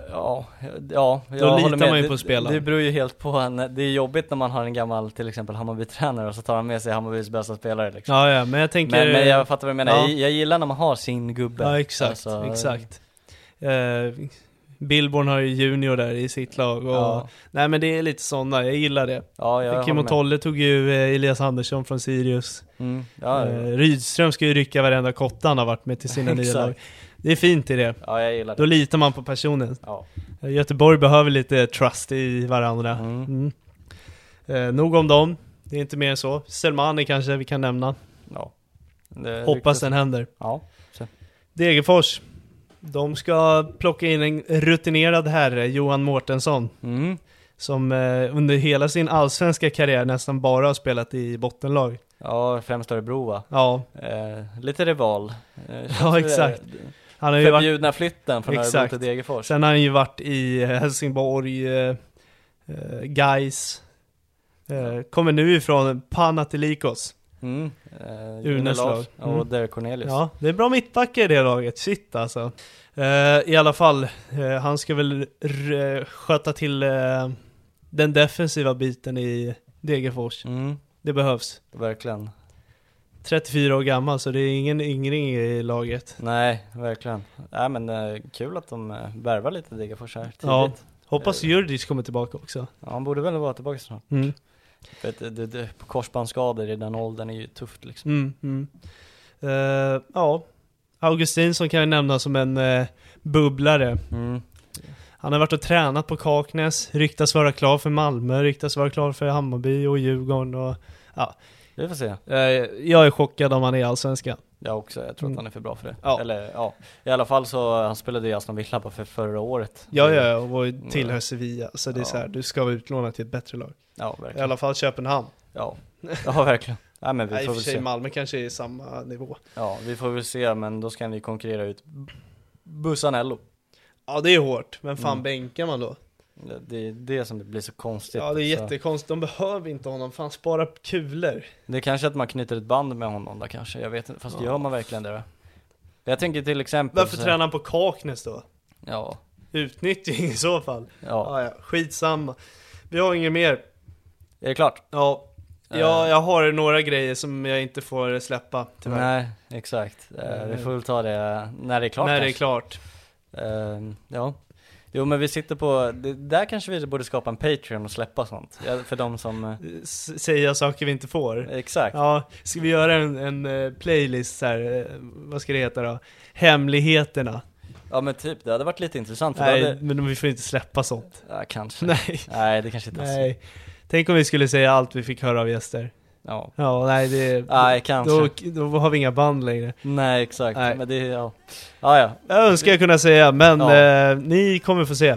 C: Ja, ja, jag
B: Då litar
C: håller med.
B: man ju
C: Det-
B: på spelaren.
C: Det beror ju helt på, en, det är jobbigt när man har en gammal till exempel Hammarby-tränare och så tar han med sig Hammarbys bästa spelare liksom.
B: Ja, ja, men jag tänker...
C: men, men jag fattar vad du menar,
B: Ja.
C: jag, jag gillar när man har sin gubbe.
B: Ja, exakt,
C: Alltså,
B: exakt. Eh, Billborn har ju Junior där i sitt lag och...
C: Ja,
B: Nej men det är lite sådana, jag gillar det.
C: ja jag
B: Kim
C: håller
B: och
C: med.
B: Tolle tog ju eh, Elias Andersson från Sirius.
C: Mm, ja,
B: Eh,
C: ja.
B: Rydström ska ju rycka varenda kotte han har varit med till sina nya
C: Exakt.
B: lag. Det är fint i det.
C: ja, jag gillar
B: Då
C: det.
B: litar man på personen.
C: Ja.
B: Göteborg behöver lite trust i varandra.
C: Mm.
B: Mm. Eh, nog om dem, det är inte mer än så. Selmani kanske vi kan nämna.
C: Ja. Det
B: Hoppas
C: ryktas-
B: den händer.
C: Ja.
B: Degerfors. De ska plocka in en rutinerad herre, Johan Mårtensson,
C: Mm.
B: som eh, under hela sin allsvenska karriär nästan bara har spelat i bottenlag.
C: Ja, främst Örebro va?
B: Ja,
C: Eh, lite rival. Eh, känns
B: Ja,
C: det-
B: exakt. Han har ju varit,
C: Förbjudna flytten från Örebro
B: Exakt.
C: till Degerfors.
B: sen har han ju varit i eh, Helsingborg, eh, eh, Gais. Eh, kommer nu ifrån Panathinaikos.
C: Mm. Eh,
B: Unes lag.
C: Lars och
B: Mm.
C: Derek Cornelius.
B: Ja, det är bra mittbackar i det laget. Shit alltså. Eh, I alla fall, eh, han ska väl r- sköta till eh, den defensiva biten i Degerfors.
C: Mm,
B: Det behövs.
C: verkligen.
B: 34 år gammal, så det är ingen yngling i laget.
C: Nej, verkligen. Nej men eh, kul att de eh, värvar lite Degerfors här tidigt.
B: Ja.
C: Ja.
B: Hoppas Djurdjic kommer tillbaka också.
C: han borde väl vara tillbaka snart.
B: Mm.
C: För att det, det, det, korsbandsskador i den åldern är ju tufft liksom.
B: Mm, mm. Eh, ja, Augustinsson kan jag nämna som en eh, bubblare.
C: Mm.
B: Han har varit och tränat på Kaknäs, ryktas vara klar för Malmö, ryktas vara klar för Hammarby och Djurgården och
C: Vi får se.
B: Eh, jag är chockad om han är allsvenskan.
C: Jag också, jag tror
B: Mm.
C: att han är för bra för det.
B: Ja.
C: Eller ja, i alla fall så, eh, han spelade i Aston Villa bara för förra året.
B: Ja,
C: Det-
B: ja, ja, och tillhör Sevilla. Så det är
C: Mm. Ja.
B: så här, du ska vara utlånad till ett bättre lag.
C: Ja,
B: I
C: verkligen.
B: alla fall Köpenhamn.
C: Ja, ja verkligen. Nej men vi
B: Nej, i
C: får
B: och
C: väl
B: för
C: se.
B: sig Malmö kanske är i samma nivå.
C: Ja, vi får väl se, men då ska vi konkurrera ut Bussanello.
B: Ja, det är hårt. Men fan
C: Mm.
B: bänkar man då?
C: Det- Det är det som blir så konstigt.
B: Ja, det är
C: Så
B: jättekonstigt. De behöver inte honom. Fan, spara kulor.
C: det är kanske att man knyter ett band med honom då kanske, jag vet inte, fast
B: Ja.
C: gör man verkligen det då? Jag tänker till exempel
B: Varför
C: så-
B: tränar han på Kaknäs då?
C: Ja,
B: Utnyttjning i så fall.
C: ja.
B: Ja, ja, skitsamma. Vi har inget mer.
C: Är det klart?
B: Ja,
C: Eh.
B: jag, jag har några grejer som jag inte får släppa tyvärr.
C: Nej, exakt. Eh, vi får väl ta det när det är klart
B: När det är
C: kanske.
B: klart.
C: Eh, ja. Jo men vi sitter på, det, där kanske vi borde skapa en Patreon och släppa sånt. Ja, för de som, eh,
B: S- säga saker vi inte får.
C: exakt.
B: Ja, ska vi göra en, en eh, playlist så här, eh, vad ska det heta då? Hemligheterna.
C: Ja men typ, det hade varit lite intressant. För
B: Nej,
C: Då hade,
B: men vi får inte släppa sånt.
C: ja, kanske. Nej.
B: Nej.
C: det kanske inte är så.
B: nej. Tänk om vi skulle säga allt vi fick höra av gäster.
C: Ja.
B: Ja, nej det...
C: Nej, kanske.
B: Då, då har vi inga band längre.
C: Nej exakt,
B: Nej.
C: men det, ja. Ja, ja.
B: Jag önskar jag kunna säga, men
C: Ja.
B: eh, ni kommer få se.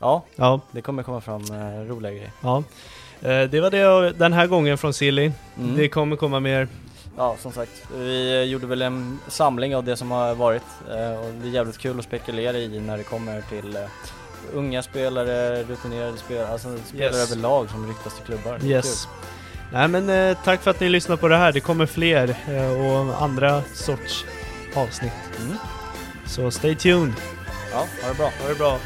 C: ja
B: Ja,
C: det kommer komma fram eh, roliga grejer.
B: ja. Eh, det var det jag- den här gången från Silly.
C: Mm.
B: Det kommer komma mer.
C: Ja, som sagt, vi eh, gjorde väl en samling av det som har varit eh, och det är jävligt kul att spekulera i när det kommer till eh, unga spelare, rutinerade spelare, alltså spelare
B: Yes.
C: överlag som ryktas till klubbar. Det är
B: Yes. Nej men eh, tack för att ni lyssnar på det här. Det kommer fler eh, och andra sorts avsnitt.
C: kul. Mm.
B: Så stay tuned.
C: Ja, ha det bra.
B: Ha det bra.